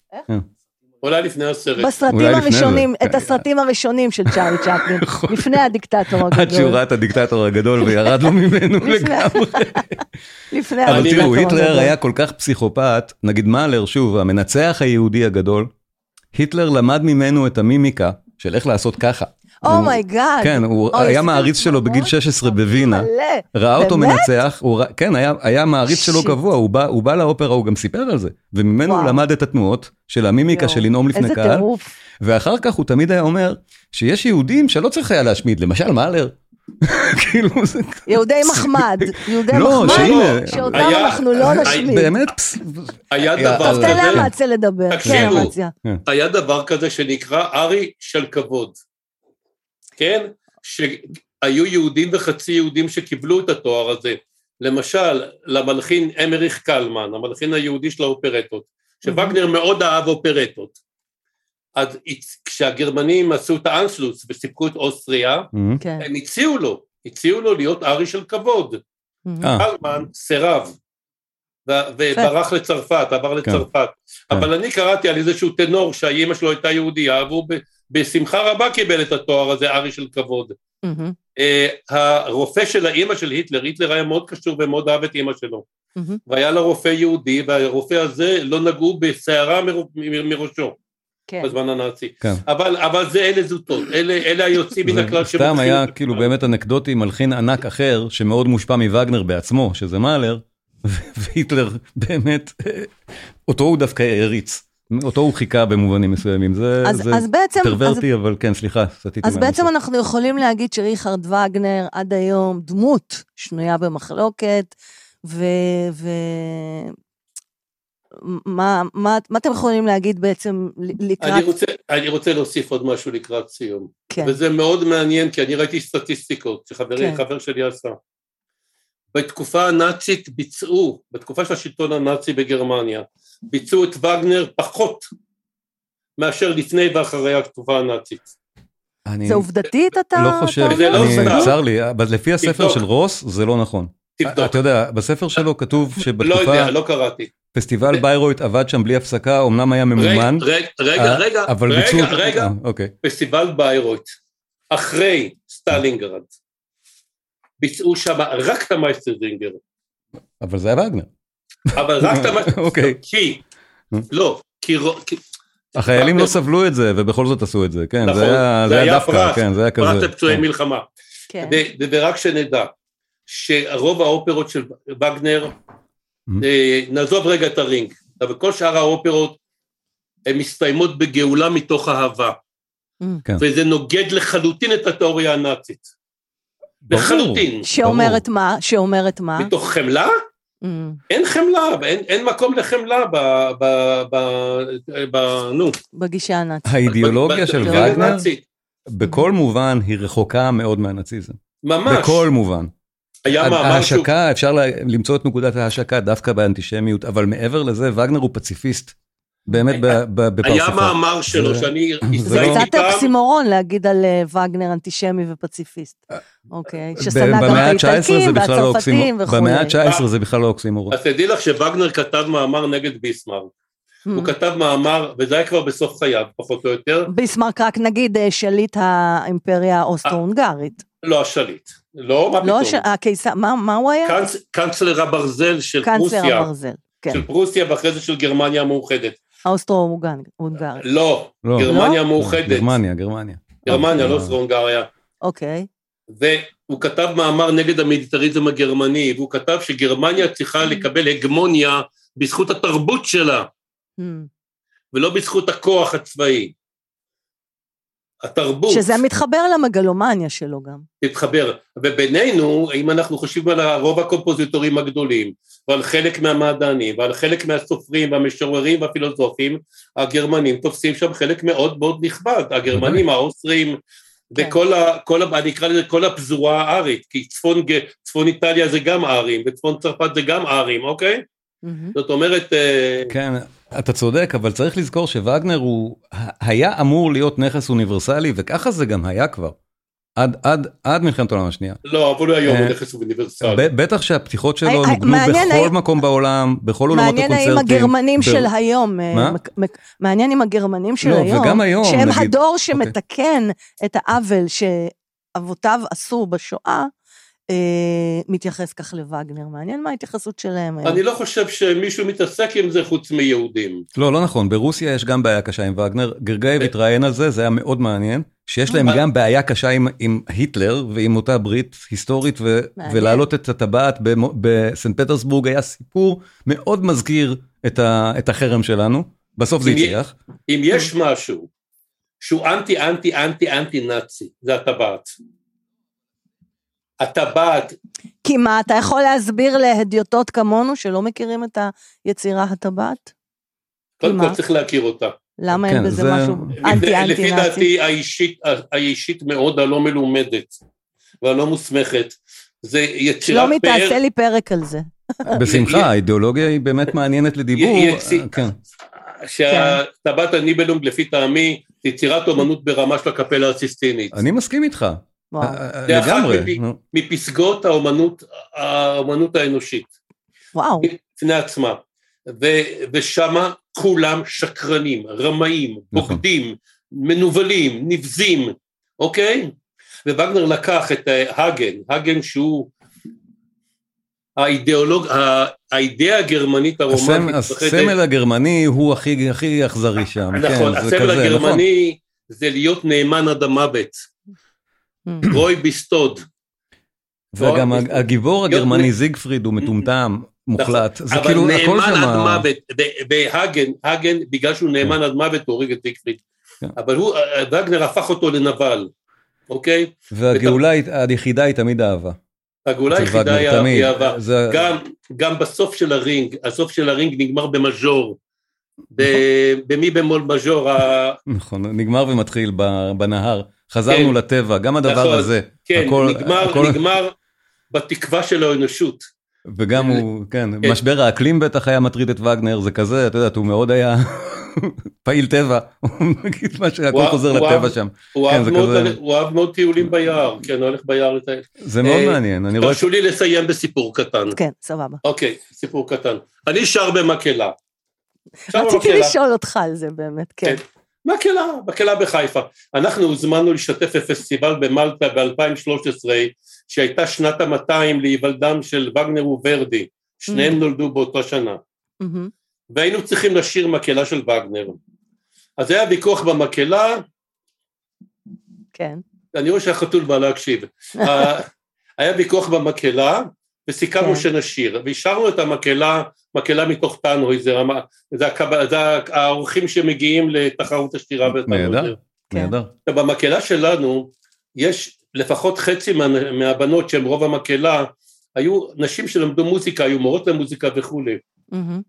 Speaker 3: אולי לפני הסרט.
Speaker 1: אולי
Speaker 2: בסרטים
Speaker 1: לפני
Speaker 2: הראשונים,
Speaker 1: זה. כן. נכון.
Speaker 2: את הסרטים הראשונים של צ'רלי צ'פלין, לפני הדיקטטור
Speaker 1: עד שהוא
Speaker 2: הגדול.
Speaker 1: ראה את הדיקטטור הגדול וירד לו ממנו
Speaker 2: לפני-
Speaker 1: לגמרי.
Speaker 2: לפני
Speaker 1: אבל
Speaker 3: אני
Speaker 1: תראו,
Speaker 2: הדיקטטור
Speaker 1: היטלר
Speaker 2: הגדול.
Speaker 1: היה כל כך פסיכופת, נגיד מאלר, שוב, המנצח היהודי הגדול, היטלר למד ממנו את המימיקה של איך לעשות ככה.
Speaker 2: Oh
Speaker 1: הוא-
Speaker 2: אומייגאד.
Speaker 1: כן, הוא
Speaker 2: אוי,
Speaker 1: היה
Speaker 2: עשיתם
Speaker 1: מעריץ שלו בגיל
Speaker 2: דמעות?
Speaker 1: 16 בווינה.
Speaker 2: מלא.
Speaker 1: ראה אותו
Speaker 2: באמת?
Speaker 1: מנצח, הוא ראה- כן, היה- היה מעריץ שלו
Speaker 2: שיט.
Speaker 1: קבוע, הוא בא- הוא בא לאופרה, הוא גם סיפר על זה, וממנו הוא
Speaker 2: וואו.
Speaker 1: למד את התנועות של המימיקה
Speaker 2: יואו,
Speaker 1: של לנאום לפני
Speaker 2: איזה
Speaker 1: קהל,
Speaker 2: טירוף.
Speaker 1: ואחר כך הוא תמיד היה אומר שיש יהודים שלא צריך היה להשמיד, למשל מאלר. כאילו זה
Speaker 2: יהודי מחמד. יהודי
Speaker 1: לא,
Speaker 2: מחמד,
Speaker 1: שהנה-
Speaker 2: שאותם
Speaker 3: היה-
Speaker 2: אנחנו לא נשמיד.
Speaker 1: באמת פס-
Speaker 3: היה
Speaker 1: היה-
Speaker 3: דבר
Speaker 1: אז
Speaker 2: טוב,
Speaker 1: אתה
Speaker 2: תן
Speaker 1: יודע.
Speaker 3: כזה,
Speaker 2: לאמציה לדבר. כן,
Speaker 3: תקשיבו.
Speaker 2: אמציה.
Speaker 3: היה דבר כזה שנקרא ארי של כבוד. כן? שהיו יהודים וחצי יהודים שקיבלו את התואר הזה. למשל, למלחין אמריך קלמן, המלחין היהודי של האופרטות, שווגנר מאוד אהב אופרטות. אז הצ- כשהגרמנים עשו את האנשלוץ וסיפקו את אוסטריה,
Speaker 2: כן.
Speaker 3: הם הציעו לו, הציעו לו להיות ארי של כבוד.
Speaker 1: אה,
Speaker 3: קלמן סירב, ו- וברח לצרפת, עבר
Speaker 1: כן.
Speaker 3: לצרפת. אבל אני קראתי על איזשהו טנור שהאימא שלו הייתה יהודייה, והוא ב- בשמחה רבה קיבל את התואר הזה, ארי של כבוד.
Speaker 2: מהמם,
Speaker 3: אה, הרופא של האימא של היטלר, היטלר היה מאוד קשור ומאוד אהב את אימא שלו,
Speaker 2: מהמם.
Speaker 3: והיה לה רופא יהודי, והרופא הזה לא נגעו בשערה מרו- מ- מראשו
Speaker 2: כן.
Speaker 3: בזמן הנאצי.
Speaker 1: כן.
Speaker 3: אבל אבל זה אלה זוטות, אלה אלה היוצאים מן
Speaker 1: זה
Speaker 3: הכלל
Speaker 1: סתם כאילו
Speaker 3: שמוכיחים-
Speaker 1: היה כאילו באמת אנקדוטי מלחין ענק אחר שמאוד מושפע מווגנר בעצמו שזה מאלר והיטלר באמת, אותו הוא דווקא העריץ. אותו הוא חיכה במובנים מסוימים, זה,
Speaker 2: אז-
Speaker 1: זה
Speaker 2: אז בעצם-
Speaker 1: פרוורטי, אבל כן, סליחה, סטיתי
Speaker 2: אז
Speaker 1: מהנושא.
Speaker 2: בעצם אנחנו יכולים להגיד שריכרד וגנר עד היום דמות שנויה במחלוקת, ו... ו... מה, מה, מה אתם יכולים להגיד בעצם ל- לקראת...
Speaker 3: אני רוצה, אני רוצה להוסיף עוד משהו לקראת סיום.
Speaker 2: כן,
Speaker 3: וזה מאוד מעניין, כי אני ראיתי סטטיסטיקות שחברי,
Speaker 2: כן.
Speaker 3: חבר שלי עשה. בתקופה הנאצית ביצעו, בתקופה של השלטון הנאצי בגרמניה, ביצעו את וגנר פחות מאשר לפני ואחרי התקופה הנאצית.
Speaker 1: אני
Speaker 2: זה עובדתית אתה...
Speaker 1: לא
Speaker 2: אתה
Speaker 1: חושב,
Speaker 2: אומר?
Speaker 3: זה לא
Speaker 1: אני-
Speaker 3: סתם.
Speaker 1: צר לי, אבל לפי הספר
Speaker 3: תבדוק.
Speaker 1: של רוס, זה לא נכון.
Speaker 3: תבדוק.
Speaker 1: אתה יודע, בספר שלו כתוב
Speaker 3: לא
Speaker 1: שבתקופה,
Speaker 3: יודע, לא קראתי.
Speaker 1: פסטיבל ביירויט עבד שם בלי הפסקה, אמנם היה
Speaker 3: רגע,
Speaker 1: ממומן,
Speaker 3: רגע, רגע,
Speaker 1: אה,
Speaker 3: רגע,
Speaker 1: אבל ביצעו...
Speaker 3: רגע, רגע,
Speaker 1: אה, אוקיי.
Speaker 3: פסטיבל ביירויט, אחרי סטלינגרד, ביצעו שם רק את המייסטרדינגר,
Speaker 1: אבל זה היה וגנר.
Speaker 3: אבל רק את המייסטרדינגר,
Speaker 1: אוקיי.
Speaker 3: כי, לא, כי, רו- כי
Speaker 1: החיילים לא
Speaker 3: וגנר-
Speaker 1: סבלו את זה, ובכל זאת עשו את זה, כן,
Speaker 3: אה, נכון,
Speaker 1: זה היה-
Speaker 3: זה
Speaker 1: זה היה
Speaker 3: היה
Speaker 1: דווקא,
Speaker 3: פרס,
Speaker 1: כן, זה היה כזה.
Speaker 3: פרט לפצועי
Speaker 1: כן.
Speaker 3: מלחמה.
Speaker 2: כן.
Speaker 3: ו- ורק שנדע, שרוב האופרות של וגנר,
Speaker 1: Mhm.
Speaker 3: אה, נעזוב רגע את הרינג, אבל כל שאר האופרות, הן מסתיימות בגאולה מתוך אהבה,
Speaker 1: כן.
Speaker 3: וזה נוגד לחלוטין את התיאוריה הנאצית.
Speaker 1: ברור.
Speaker 3: לחלוטין.
Speaker 2: שאומרת מה? שאומרת מה?
Speaker 3: מתוך חמלה?
Speaker 2: אמ,
Speaker 3: אין חמלה, אין, אין מקום לחמלה ב... ב, ב, ב נו.
Speaker 2: בגישה הנאצית.
Speaker 1: האידיאולוגיה
Speaker 3: ב-
Speaker 1: של
Speaker 3: בתיאוריה
Speaker 1: וגנר,
Speaker 3: הנאצית.
Speaker 1: בכל מובן, היא רחוקה מאוד מהנאציזם.
Speaker 3: ממש.
Speaker 1: בכל מובן.
Speaker 3: היה מאמר שהוא...
Speaker 1: ההשקה, אפשר לה- למצוא את נקודת ההשקה דווקא באנטישמיות, אבל מעבר לזה, וגנר הוא פציפיסט. באמת ב- ב-
Speaker 3: היה
Speaker 1: בפרצופו.
Speaker 3: מאמר שלו
Speaker 1: זה-
Speaker 3: שאני
Speaker 2: זה
Speaker 1: לא-
Speaker 3: הזדהיתי
Speaker 2: קצת
Speaker 3: איתם,
Speaker 2: אוקסימורון להגיד על אה, וגנר אנטישמי ופציפיסט. אוקיי, ששנא
Speaker 1: אה, ב-
Speaker 2: גם
Speaker 1: במאה
Speaker 2: את
Speaker 1: ה-19 זה
Speaker 2: האיטלקים
Speaker 1: בכלל לא
Speaker 2: והצרפתים
Speaker 1: אוקסימור-
Speaker 2: וכולי.
Speaker 1: במאה
Speaker 3: אה.
Speaker 1: ה-19 זה בכלל לא אוקסימורון.
Speaker 3: אז תדעי לך שווגנר כתב מאמר נגד ביסמרק.
Speaker 2: אמ.
Speaker 3: הוא כתב מאמר, וזה היה כבר בסוף חייו, פחות או יותר,
Speaker 2: ביסמרק רק נגיד אה, שליט האימפריה האוסטרו-הונגרית.
Speaker 3: לא השליט. לא,
Speaker 1: אה,
Speaker 3: מה
Speaker 2: לא ש...
Speaker 3: פתאום.
Speaker 2: הקיסר, מה, מה הוא היה?
Speaker 3: קאנצ- קאנצלר הברזל של
Speaker 2: קאנצלר
Speaker 3: פרוסיה,
Speaker 2: הברזל, כן.
Speaker 3: של פרוסיה ואחרי זה של גרמניה המאוחדת.
Speaker 2: האוסטרו-הונגרית.
Speaker 3: לא,
Speaker 1: לא.
Speaker 3: גרמניה
Speaker 2: לא?
Speaker 3: המאוחדת.
Speaker 1: גרמניה, גרמניה.
Speaker 3: גרמניה, לא
Speaker 1: אה.
Speaker 3: אוסטרו-הונגריה.
Speaker 2: אוקיי.
Speaker 3: והוא כתב מאמר נגד המיליטריזם הגרמני, והוא כתב שגרמניה צריכה
Speaker 2: Mm.
Speaker 3: לקבל הגמוניה בזכות התרבות שלה,
Speaker 1: אה,
Speaker 2: אמ.
Speaker 3: ולא בזכות הכוח הצבאי. התרבות
Speaker 2: שזה מתחבר למגלומניה שלו גם.
Speaker 3: תתחבר. ובינינו, אם אנחנו חושבים על הרוב הקומפוזיטורים הגדולים, ועל חלק מהמעדנים, ועל חלק מהסופרים והמשוררים והפילוסופים, הגרמנים תופסים שם חלק מאוד מאוד נכבד. הגרמנים, האוסטרים,
Speaker 2: כן.
Speaker 3: וכל ה... כל ה... אני אקרא לזה כל הפזורה הארית, כי צפון, ג- צפון איטליה זה גם ארים, וצפון צרפת זה גם ארים, אוקיי?
Speaker 2: אמ.
Speaker 3: זאת אומרת, אה,
Speaker 1: כן, אתה צודק, אבל צריך לזכור שווגנר הוא היה אמור להיות נכס אוניברסלי, וככה זה גם היה כבר. עד, עד, עד מלחמת העולם השנייה.
Speaker 3: לא, אבל היום הוא
Speaker 1: אה,
Speaker 3: נכס אוניברסלי.
Speaker 1: ב- בטח שהפתיחות שלו
Speaker 2: הי- הי-
Speaker 1: נוגנו
Speaker 2: אה, מעניין,
Speaker 1: בכל
Speaker 2: הי-
Speaker 1: מקום בעולם, בכל עולמות
Speaker 2: מעניין האם
Speaker 1: הקונצרטים.
Speaker 2: הגרמנים
Speaker 1: ב-
Speaker 2: של היום, אה,
Speaker 1: מה?
Speaker 2: מק- מק- מעניין אם הגרמנים של
Speaker 1: לא,
Speaker 2: היום,
Speaker 1: וגם היום,
Speaker 2: שהם
Speaker 1: נגיד. אוקיי.
Speaker 2: הדור שמתקן את העוול שאבותיו עשו בשואה, אה, מתייחס כך לווגנר. מעניין מה ההתייחסות שלהם אה. היום.
Speaker 3: אני לא חושב שמישהו מתעסק עם זה חוץ מיהודים.
Speaker 1: לא, לא נכון, ברוסיה יש גם בעיה קשה עם וגנר. גרגייב התראיין על זה, זה היה מאוד מעניין, שיש להם
Speaker 3: אה.
Speaker 1: גם בעיה קשה עם, עם היטלר ועם אותה ברית היסטורית, ו,
Speaker 2: מעניין.
Speaker 1: ולהעלות את הטבעת במו- בסנט פטרסבורג היה סיפור מאוד מזכיר את, ה, את החרם שלנו. בסוף זה
Speaker 3: אם י-
Speaker 1: הצליח.
Speaker 3: אם
Speaker 2: כן.
Speaker 3: יש משהו שהוא אנטי אנטי אנטי אנטי נאצי, זה הטבעת. הטבעת,
Speaker 2: כי מה, אתה יכול להסביר להדיוטות כמונו שלא מכירים את היצירה הטבעת?
Speaker 3: קודם
Speaker 2: מה?
Speaker 3: כל צריך להכיר אותה.
Speaker 2: למה
Speaker 1: כן,
Speaker 2: אין בזה
Speaker 1: זה-
Speaker 2: משהו לא
Speaker 1: לפי
Speaker 2: אנטי
Speaker 3: לפי-
Speaker 2: אנטי
Speaker 3: לפי
Speaker 2: נאצי?
Speaker 3: דעתי האישית, האישית מאוד הלא מלומדת והלא מוסמכת, זה יצירת
Speaker 2: שלומי,
Speaker 3: פאר,
Speaker 2: תעשה לי פרק על זה.
Speaker 1: בשמחה,
Speaker 3: י-
Speaker 1: האידיאולוגיה היא באמת מעניינת לדיבור.
Speaker 3: י- יצי-
Speaker 1: כן.
Speaker 3: שהטבעת הניבלונג לפי טעמי, זה יצירת
Speaker 2: כן.
Speaker 3: אומנות ברמה של הקפלה הסיסטינית.
Speaker 1: אני מסכים איתך,
Speaker 3: אה,
Speaker 2: וואו.
Speaker 1: אה,
Speaker 3: זה אחת
Speaker 1: לגמרי.
Speaker 3: מפי-
Speaker 1: נו.
Speaker 3: מפסגות האומנות, האומנות האנושית.
Speaker 2: וואו.
Speaker 3: בפני עצמה. ו- ושמה כולם שקרנים, רמאים,
Speaker 1: נכון.
Speaker 3: בוגדים, מנוולים, נבזים, אוקיי? ווגנר לקח את אה, הגן, הגן שהוא האידיאולוג, ה- האידאה הגרמנית הרומנית.
Speaker 1: הסמל-
Speaker 3: מתרחשת-
Speaker 1: הסמל הגרמני הוא הכי הכי אכזרי שם.
Speaker 3: נכון,
Speaker 1: כן, זה
Speaker 3: הסמל
Speaker 1: כזה,
Speaker 3: הגרמני זה להיות נאמן עד המוות, רוי ביסטוד.
Speaker 2: Mm.
Speaker 1: נכון. וגם
Speaker 3: מאוד- לא,
Speaker 1: הגיבור הגרמני זיגפריד הוא מטומטם, מוחלט. זה
Speaker 3: נכון. אבל
Speaker 1: כאילו, הכל
Speaker 3: נאמן
Speaker 1: שם...
Speaker 3: עד
Speaker 1: ה-
Speaker 3: מוות, ו- והגן, הגן, בגלל שהוא נאמן עד מוות, הוא הורג את זיגפריד.
Speaker 1: כן.
Speaker 3: אבל הוא, אה, וגנר הפך אותו לנבל, אוקיי?
Speaker 1: והגאולה היא- היחידה היא תמיד אהבה.
Speaker 3: הגאולה
Speaker 1: אצל
Speaker 3: היחידה
Speaker 1: וגנר,
Speaker 3: היא
Speaker 1: תמיד. אה,
Speaker 3: היא אהבה.
Speaker 1: זה-
Speaker 3: גם, גם בסוף של הרינג, הסוף של הרינג נגמר במז'ור. ב- במי במול מז'ור, ה-
Speaker 1: נכון, נגמר ומתחיל ב- בנהר. חזרנו
Speaker 3: כן.
Speaker 1: לטבע, גם הדבר
Speaker 3: נכון.
Speaker 1: הזה.
Speaker 3: כן,
Speaker 1: הכל-
Speaker 3: נגמר,
Speaker 1: הכל-
Speaker 3: נגמר בתקווה של האנושות.
Speaker 1: וגם הוא, כן,
Speaker 3: כן.
Speaker 1: משבר האקלים בטח היה מטריד את וגנר, זה כזה, את יודעת, הוא מאוד היה פעיל טבע, הוא נגיד מה שהכל
Speaker 3: וואו,
Speaker 1: חוזר
Speaker 3: וואו.
Speaker 1: לטבע שם.
Speaker 3: הוא
Speaker 1: כן,
Speaker 3: אהב
Speaker 1: זה
Speaker 3: מאוד
Speaker 1: כזה-
Speaker 3: ללכת- הוא אהב מאוד טיולים ביער, כן, הוא הולך ביער לטייל.
Speaker 1: זה מאוד
Speaker 3: אה,
Speaker 1: מעניין, אני רואה...
Speaker 3: תרשו לי לסיים בסיפור קטן.
Speaker 2: כן, סבבה.
Speaker 3: אוקיי, סיפור קטן. אני שר במקהלה. שר
Speaker 2: רציתי
Speaker 3: במקהלה.
Speaker 2: לשאול אותך על זה באמת, כן.
Speaker 3: מקהלה, מקהלה בחיפה. אנחנו הוזמנו להשתתף בפסטיבל במלטה ב-2013, שהייתה שנת ה-200 להיוולדם של וגנר וורדי.
Speaker 2: Mm.
Speaker 3: שניהם נולדו באותה שנה.
Speaker 2: מהמם.
Speaker 3: והיינו צריכים לשיר מקהלה של וגנר. אז היה ויכוח במקהלה,
Speaker 2: כן.
Speaker 3: אני רואה שהחתול בא להקשיב. ה- היה ויכוח במקהלה, וסיכמנו
Speaker 2: כן.
Speaker 3: שנשיר, והשארנו את המקהלה, מקהלה מתוך טנוי, זה, רמה- זה, הקב- זה ה- האורחים שמגיעים לתחרות השירה
Speaker 1: נהדר.
Speaker 3: בטנוי.
Speaker 2: כן.
Speaker 1: נהדר.
Speaker 3: במקהלה שלנו יש לפחות חצי מה, מהבנות שהן רוב המקהלה, היו נשים שלמדו מוזיקה, היו מורות למוזיקה וכולי.
Speaker 2: מהמם.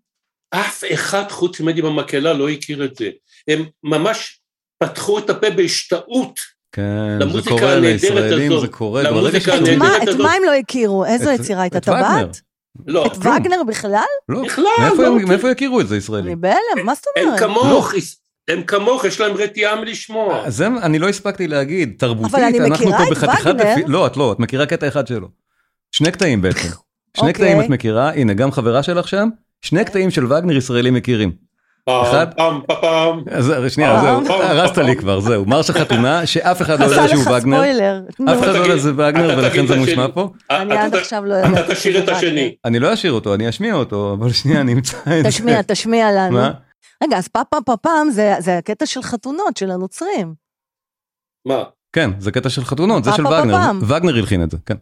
Speaker 3: אף אחד חוץ ממני במקהלה לא הכיר את זה. הם ממש פתחו את הפה בהשתאות
Speaker 1: כן, זה
Speaker 3: למוזיקה
Speaker 1: קורה
Speaker 3: הנהדרת
Speaker 1: לישראלים,
Speaker 3: הזאת,
Speaker 1: זה קורה.
Speaker 3: למוזיקה
Speaker 1: ברגע שאתה-
Speaker 3: הנהדרת.
Speaker 2: את מה-
Speaker 3: נהדרת
Speaker 2: את
Speaker 3: הזאת.
Speaker 2: מה הם לא הכירו? איזו
Speaker 1: את-
Speaker 2: יצירה הייתה
Speaker 1: את וגנר.
Speaker 2: טבת?
Speaker 3: לא,
Speaker 2: את וגנר בכלל?
Speaker 1: לא,
Speaker 3: בכלל,
Speaker 1: מאיפה
Speaker 3: לא
Speaker 1: הם- מאיפה יכירו את זה
Speaker 2: אני
Speaker 1: ישראלים?
Speaker 2: בהלם, מה זאת
Speaker 3: הם
Speaker 2: אומרת?
Speaker 3: כמוך,
Speaker 1: לא.
Speaker 3: הם כמוך, יש להם רתיעה מלשמוע.
Speaker 1: זה, אני לא הספקתי להגיד, תרבותית,
Speaker 2: אבל אני
Speaker 1: אנחנו
Speaker 2: מכירה
Speaker 1: פה
Speaker 2: את
Speaker 1: בחתיכת...
Speaker 2: וגנר.
Speaker 1: אפי- לא, את לא, את מכירה קטע אחד שלו. שני קטעים בעצם. שני
Speaker 2: אוקיי.
Speaker 1: קטעים את מכירה, הנה, גם חברה שלך שם, שני קטעים של וגנר ישראלים מכירים. אחד.
Speaker 3: פעם, פעם, פעם.
Speaker 1: אז שנייה,
Speaker 2: אה.
Speaker 1: זהו, הרסת לי כבר, זהו. מרש החתונה, שאף אחד לא
Speaker 2: עשה
Speaker 1: יודע שהוא
Speaker 2: לך
Speaker 1: וגנר,
Speaker 2: ספוילר. נו,
Speaker 1: אף אחד לא
Speaker 3: תגיד-
Speaker 1: יודע שזה וגנר
Speaker 3: אתה
Speaker 1: ולכן
Speaker 3: תגיד
Speaker 1: זה
Speaker 3: את
Speaker 1: מושמע
Speaker 3: השני.
Speaker 1: פה.
Speaker 2: אני
Speaker 3: אתה-
Speaker 2: עד
Speaker 3: אתה-
Speaker 2: עכשיו לא יודעת.
Speaker 3: אתה תשאיר את השני.
Speaker 1: אני לא אשאיר אותו, אני אשמיע אותו, אבל שנייה, אני אמצא את זה.
Speaker 2: תשמיע, תשמיע לנו.
Speaker 1: מה?
Speaker 2: רגע, אז פעם פעם פעם פעם זה- זה הקטע של חתונות של הנוצרים.
Speaker 3: מה?
Speaker 1: כן, זה קטע של חתונות, זה
Speaker 2: פם,
Speaker 1: של
Speaker 2: פם,
Speaker 1: וגנר,
Speaker 2: פם.
Speaker 1: וגנר הלחין את זה, כן.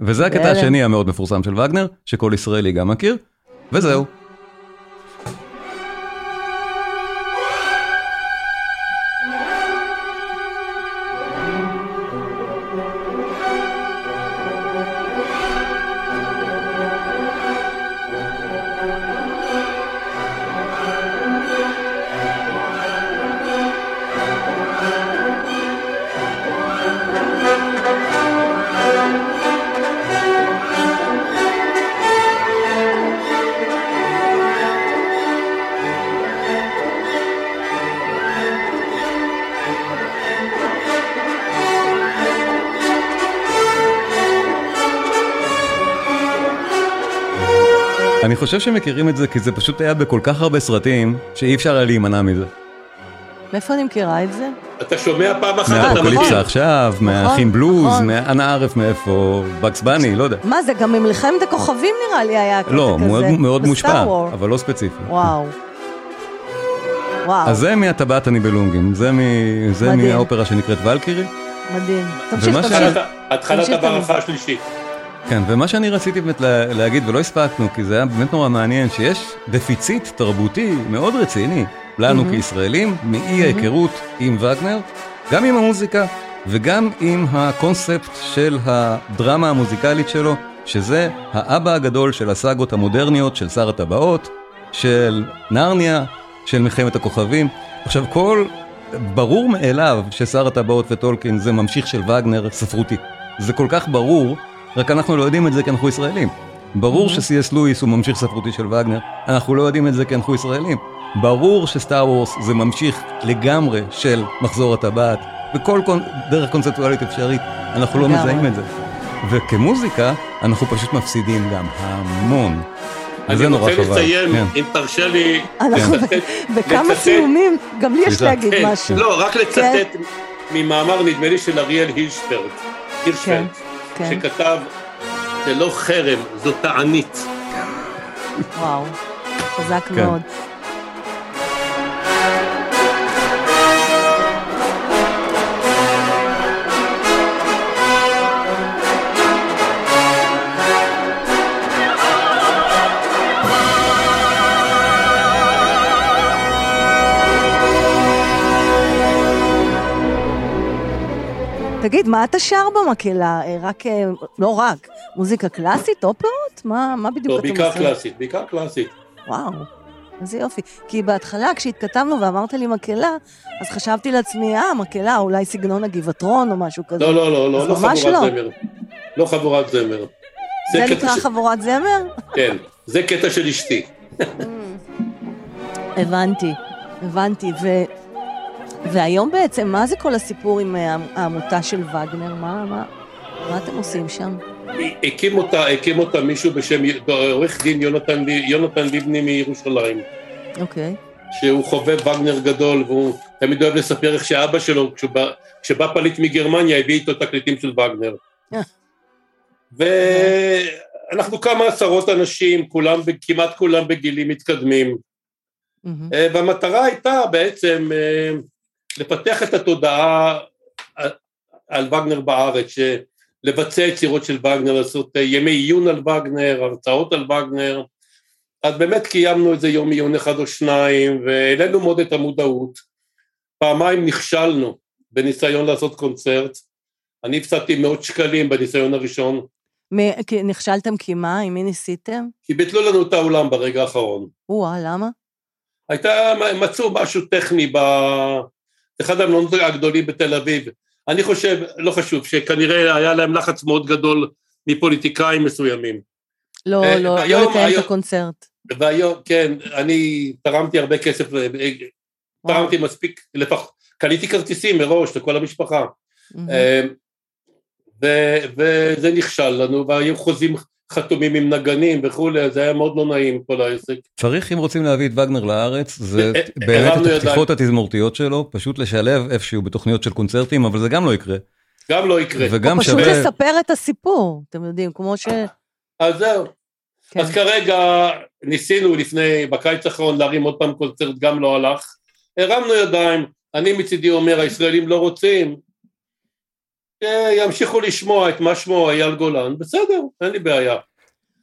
Speaker 1: וזה הקטע
Speaker 2: בהלם.
Speaker 1: השני המאוד מפורסם של וגנר, שכל ישראלי גם מכיר, וזהו. אני חושב שמכירים את זה כי זה פשוט היה בכל כך הרבה סרטים, שאי אפשר היה להימנע
Speaker 2: אה,
Speaker 1: מזה.
Speaker 2: נכון. מאיפה אני מכירה את זה?
Speaker 3: אתה שומע פעם אחת, אתה
Speaker 1: מהאפוקליפסה
Speaker 3: מכיר.
Speaker 1: עכשיו, מהאחים בלוז,
Speaker 2: נכון.
Speaker 1: מאנה ערף מאיפה, בקס בני, לא יודע.
Speaker 2: מה זה, גם ממלחמת הכוכבים נראה לי היה הקטע
Speaker 1: לא, מאוד-
Speaker 2: כזה.
Speaker 1: מאוד
Speaker 2: בסטאר
Speaker 1: מושפע,
Speaker 2: וור.
Speaker 1: אבל לא ספציפי.
Speaker 2: וואו. וואו,
Speaker 1: אז זה מהטבעת אני בלונגים, זה מ- זה
Speaker 2: מדהים.
Speaker 1: מהאופרה שנקראת ולקירי.
Speaker 2: מדהים. תמשיך,
Speaker 1: ומה
Speaker 2: תמשיך.
Speaker 3: התחלת- התחלת
Speaker 2: תמשיך את
Speaker 3: המערכה
Speaker 2: המוזיקה.
Speaker 3: השלישית.
Speaker 1: כן, ומה שאני רציתי באמת לה, להגיד ולא הספקנו, כי זה היה באמת נורא מעניין, שיש דפיציט תרבותי מאוד רציני לנו mm-hmm. כישראלים, מאי ההיכרות עם וגנר, גם עם המוזיקה וגם עם הקונספט של הדרמה המוזיקלית שלו, שזה האבא הגדול של הסאגות המודרניות, של שר הטבעות, של נרניה, של מלחמת הכוכבים. עכשיו, כל ברור מאליו ששר הטבעות וטולקין זה ממשיך של וגנר ספרותי. זה כל כך ברור, רק אנחנו לא יודעים את זה כי אנחנו ישראלים.
Speaker 3: Mm-hmm.
Speaker 1: ברור שסי.אס לואיס הוא ממשיך ספרותי של וגנר, אנחנו לא יודעים את זה כי אנחנו ישראלים. ברור שסטאר וורס זה ממשיך לגמרי של מחזור הטבעת, בכל קונ... דרך קונספטואלית אפשרית, אנחנו לא
Speaker 2: לגמרי.
Speaker 1: מזהים את זה. וכמוזיקה, אנחנו פשוט מפסידים גם המון. וזה
Speaker 3: אני
Speaker 1: נורא
Speaker 3: רוצה
Speaker 1: חבל.
Speaker 3: לסיים,
Speaker 1: כן.
Speaker 3: אם תרשה לי.
Speaker 2: אנחנו
Speaker 3: לצטט-
Speaker 2: בכמה
Speaker 3: לצטט-
Speaker 2: סיומים, גם לי יש
Speaker 1: סליחה.
Speaker 2: להגיד
Speaker 3: כן,
Speaker 2: משהו.
Speaker 3: לא, רק לצטט ממאמר, נדמה לי, של אריאל הירשפלד. הירשפלד.
Speaker 2: כן,
Speaker 3: שכתב, זה לא חרם, זו תענית.
Speaker 2: וואו, חזק
Speaker 1: כן.
Speaker 2: מאוד. תגיד, מה אתה שר במקהלה? אה, רק, אה, לא רק, מוזיקה קלאסית, אופרות? מה, מה בדיוק
Speaker 3: לא,
Speaker 2: אתם
Speaker 3: בעיקר קלאסית, בעיקר קלאסית.
Speaker 2: וואו, איזה יופי. כי בהתחלה, כשהתכתבנו ואמרת לי מקהלה, אז חשבתי לעצמי, אה, מקהלה, אולי סגנון הגבעתרון או משהו כזה.
Speaker 3: לא, לא, לא, לא,
Speaker 2: אז
Speaker 3: לא
Speaker 2: ממש
Speaker 3: חבורת
Speaker 2: לא.
Speaker 3: זמר. לא חבורת זמר.
Speaker 2: זה
Speaker 3: קטע
Speaker 2: נקרא
Speaker 3: ש-
Speaker 2: חבורת זמר?
Speaker 3: כן, זה קטע של אשתי.
Speaker 2: הבנתי, הבנתי. ו... והיום בעצם, מה זה כל הסיפור עם אה, העמותה של וגנר? מה, מה, מה אתם עושים שם?
Speaker 3: הקים אותה, הקים אותה מישהו בשם י- עורך דין יונתן, לי- יונתן לבני מירושלים,
Speaker 2: אוקיי.
Speaker 3: שהוא חובב וגנר גדול, והוא תמיד אוהב לספר איך שאבא שלו, כשהוא בא- כשבא פליט מגרמניה, הביא איתו תקליטים של וגנר.
Speaker 2: אה.
Speaker 3: ואנחנו כמה עשרות אנשים, כולם, ב- כמעט כולם בגילים מתקדמים,
Speaker 2: מהמם.
Speaker 3: אה, והמטרה הייתה בעצם אה, לפתח את התודעה על- על וגנר בארץ, ש- לבצע יצירות של וגנר, לעשות אה, ימי עיון על וגנר, הרצאות על וגנר. אז באמת קיימנו איזה יום עיון אחד או שניים, והעלינו מאוד את המודעות. פעמיים נכשלנו בניסיון לעשות קונצרט. אני הפסדתי מאות שקלים בניסיון הראשון,
Speaker 2: מ- כי נכשלתם כי מה? עם מי ניסיתם?
Speaker 3: כי ביטלו לנו את האולם ברגע האחרון.
Speaker 2: או-אה, למה?
Speaker 3: הייתה, מצאו משהו טכני ב... אחד המלונות הגדולים בתל אביב. אני חושב, לא חשוב, שכנראה היה להם לחץ מאוד גדול מפוליטיקאים מסוימים.
Speaker 2: לא,
Speaker 3: אה,
Speaker 2: לא, לא
Speaker 3: היום-
Speaker 2: לקיים את
Speaker 3: היום-
Speaker 2: הקונצרט.
Speaker 3: והיום, כן, אני תרמתי הרבה כסף,
Speaker 2: וואו.
Speaker 3: תרמתי מספיק, לפח... קניתי כרטיסים מראש לכל המשפחה.
Speaker 2: מהמם.
Speaker 3: Mm-hmm. ו, וזה נכשל לנו, והיו חוזים חתומים עם נגנים וכולי, אז זה היה מאוד לא נעים כל העסק.
Speaker 1: צריך, אם רוצים להביא את וגנר לארץ, זה
Speaker 3: אה,
Speaker 1: באמת
Speaker 3: הרמנו
Speaker 1: את
Speaker 3: ידיים.
Speaker 1: הפתיחות התזמורתיות שלו, פשוט לשלב איפשהו בתוכניות של קונצרטים, אבל זה גם לא יקרה.
Speaker 3: גם לא יקרה.
Speaker 1: וגם
Speaker 2: או פשוט
Speaker 1: שווה...
Speaker 2: לספר את הסיפור, אתם יודעים, כמו ש...
Speaker 3: אז זהו.
Speaker 2: כן.
Speaker 3: אז כרגע ניסינו לפני, בקיץ האחרון, להרים עוד פעם קונצרט, גם לא הלך. הרמנו ידיים, אני מצידי אומר, הישראלים לא רוצים, שימשיכו לשמוע את מה שמו אייל גולן, בסדר, אין לי בעיה.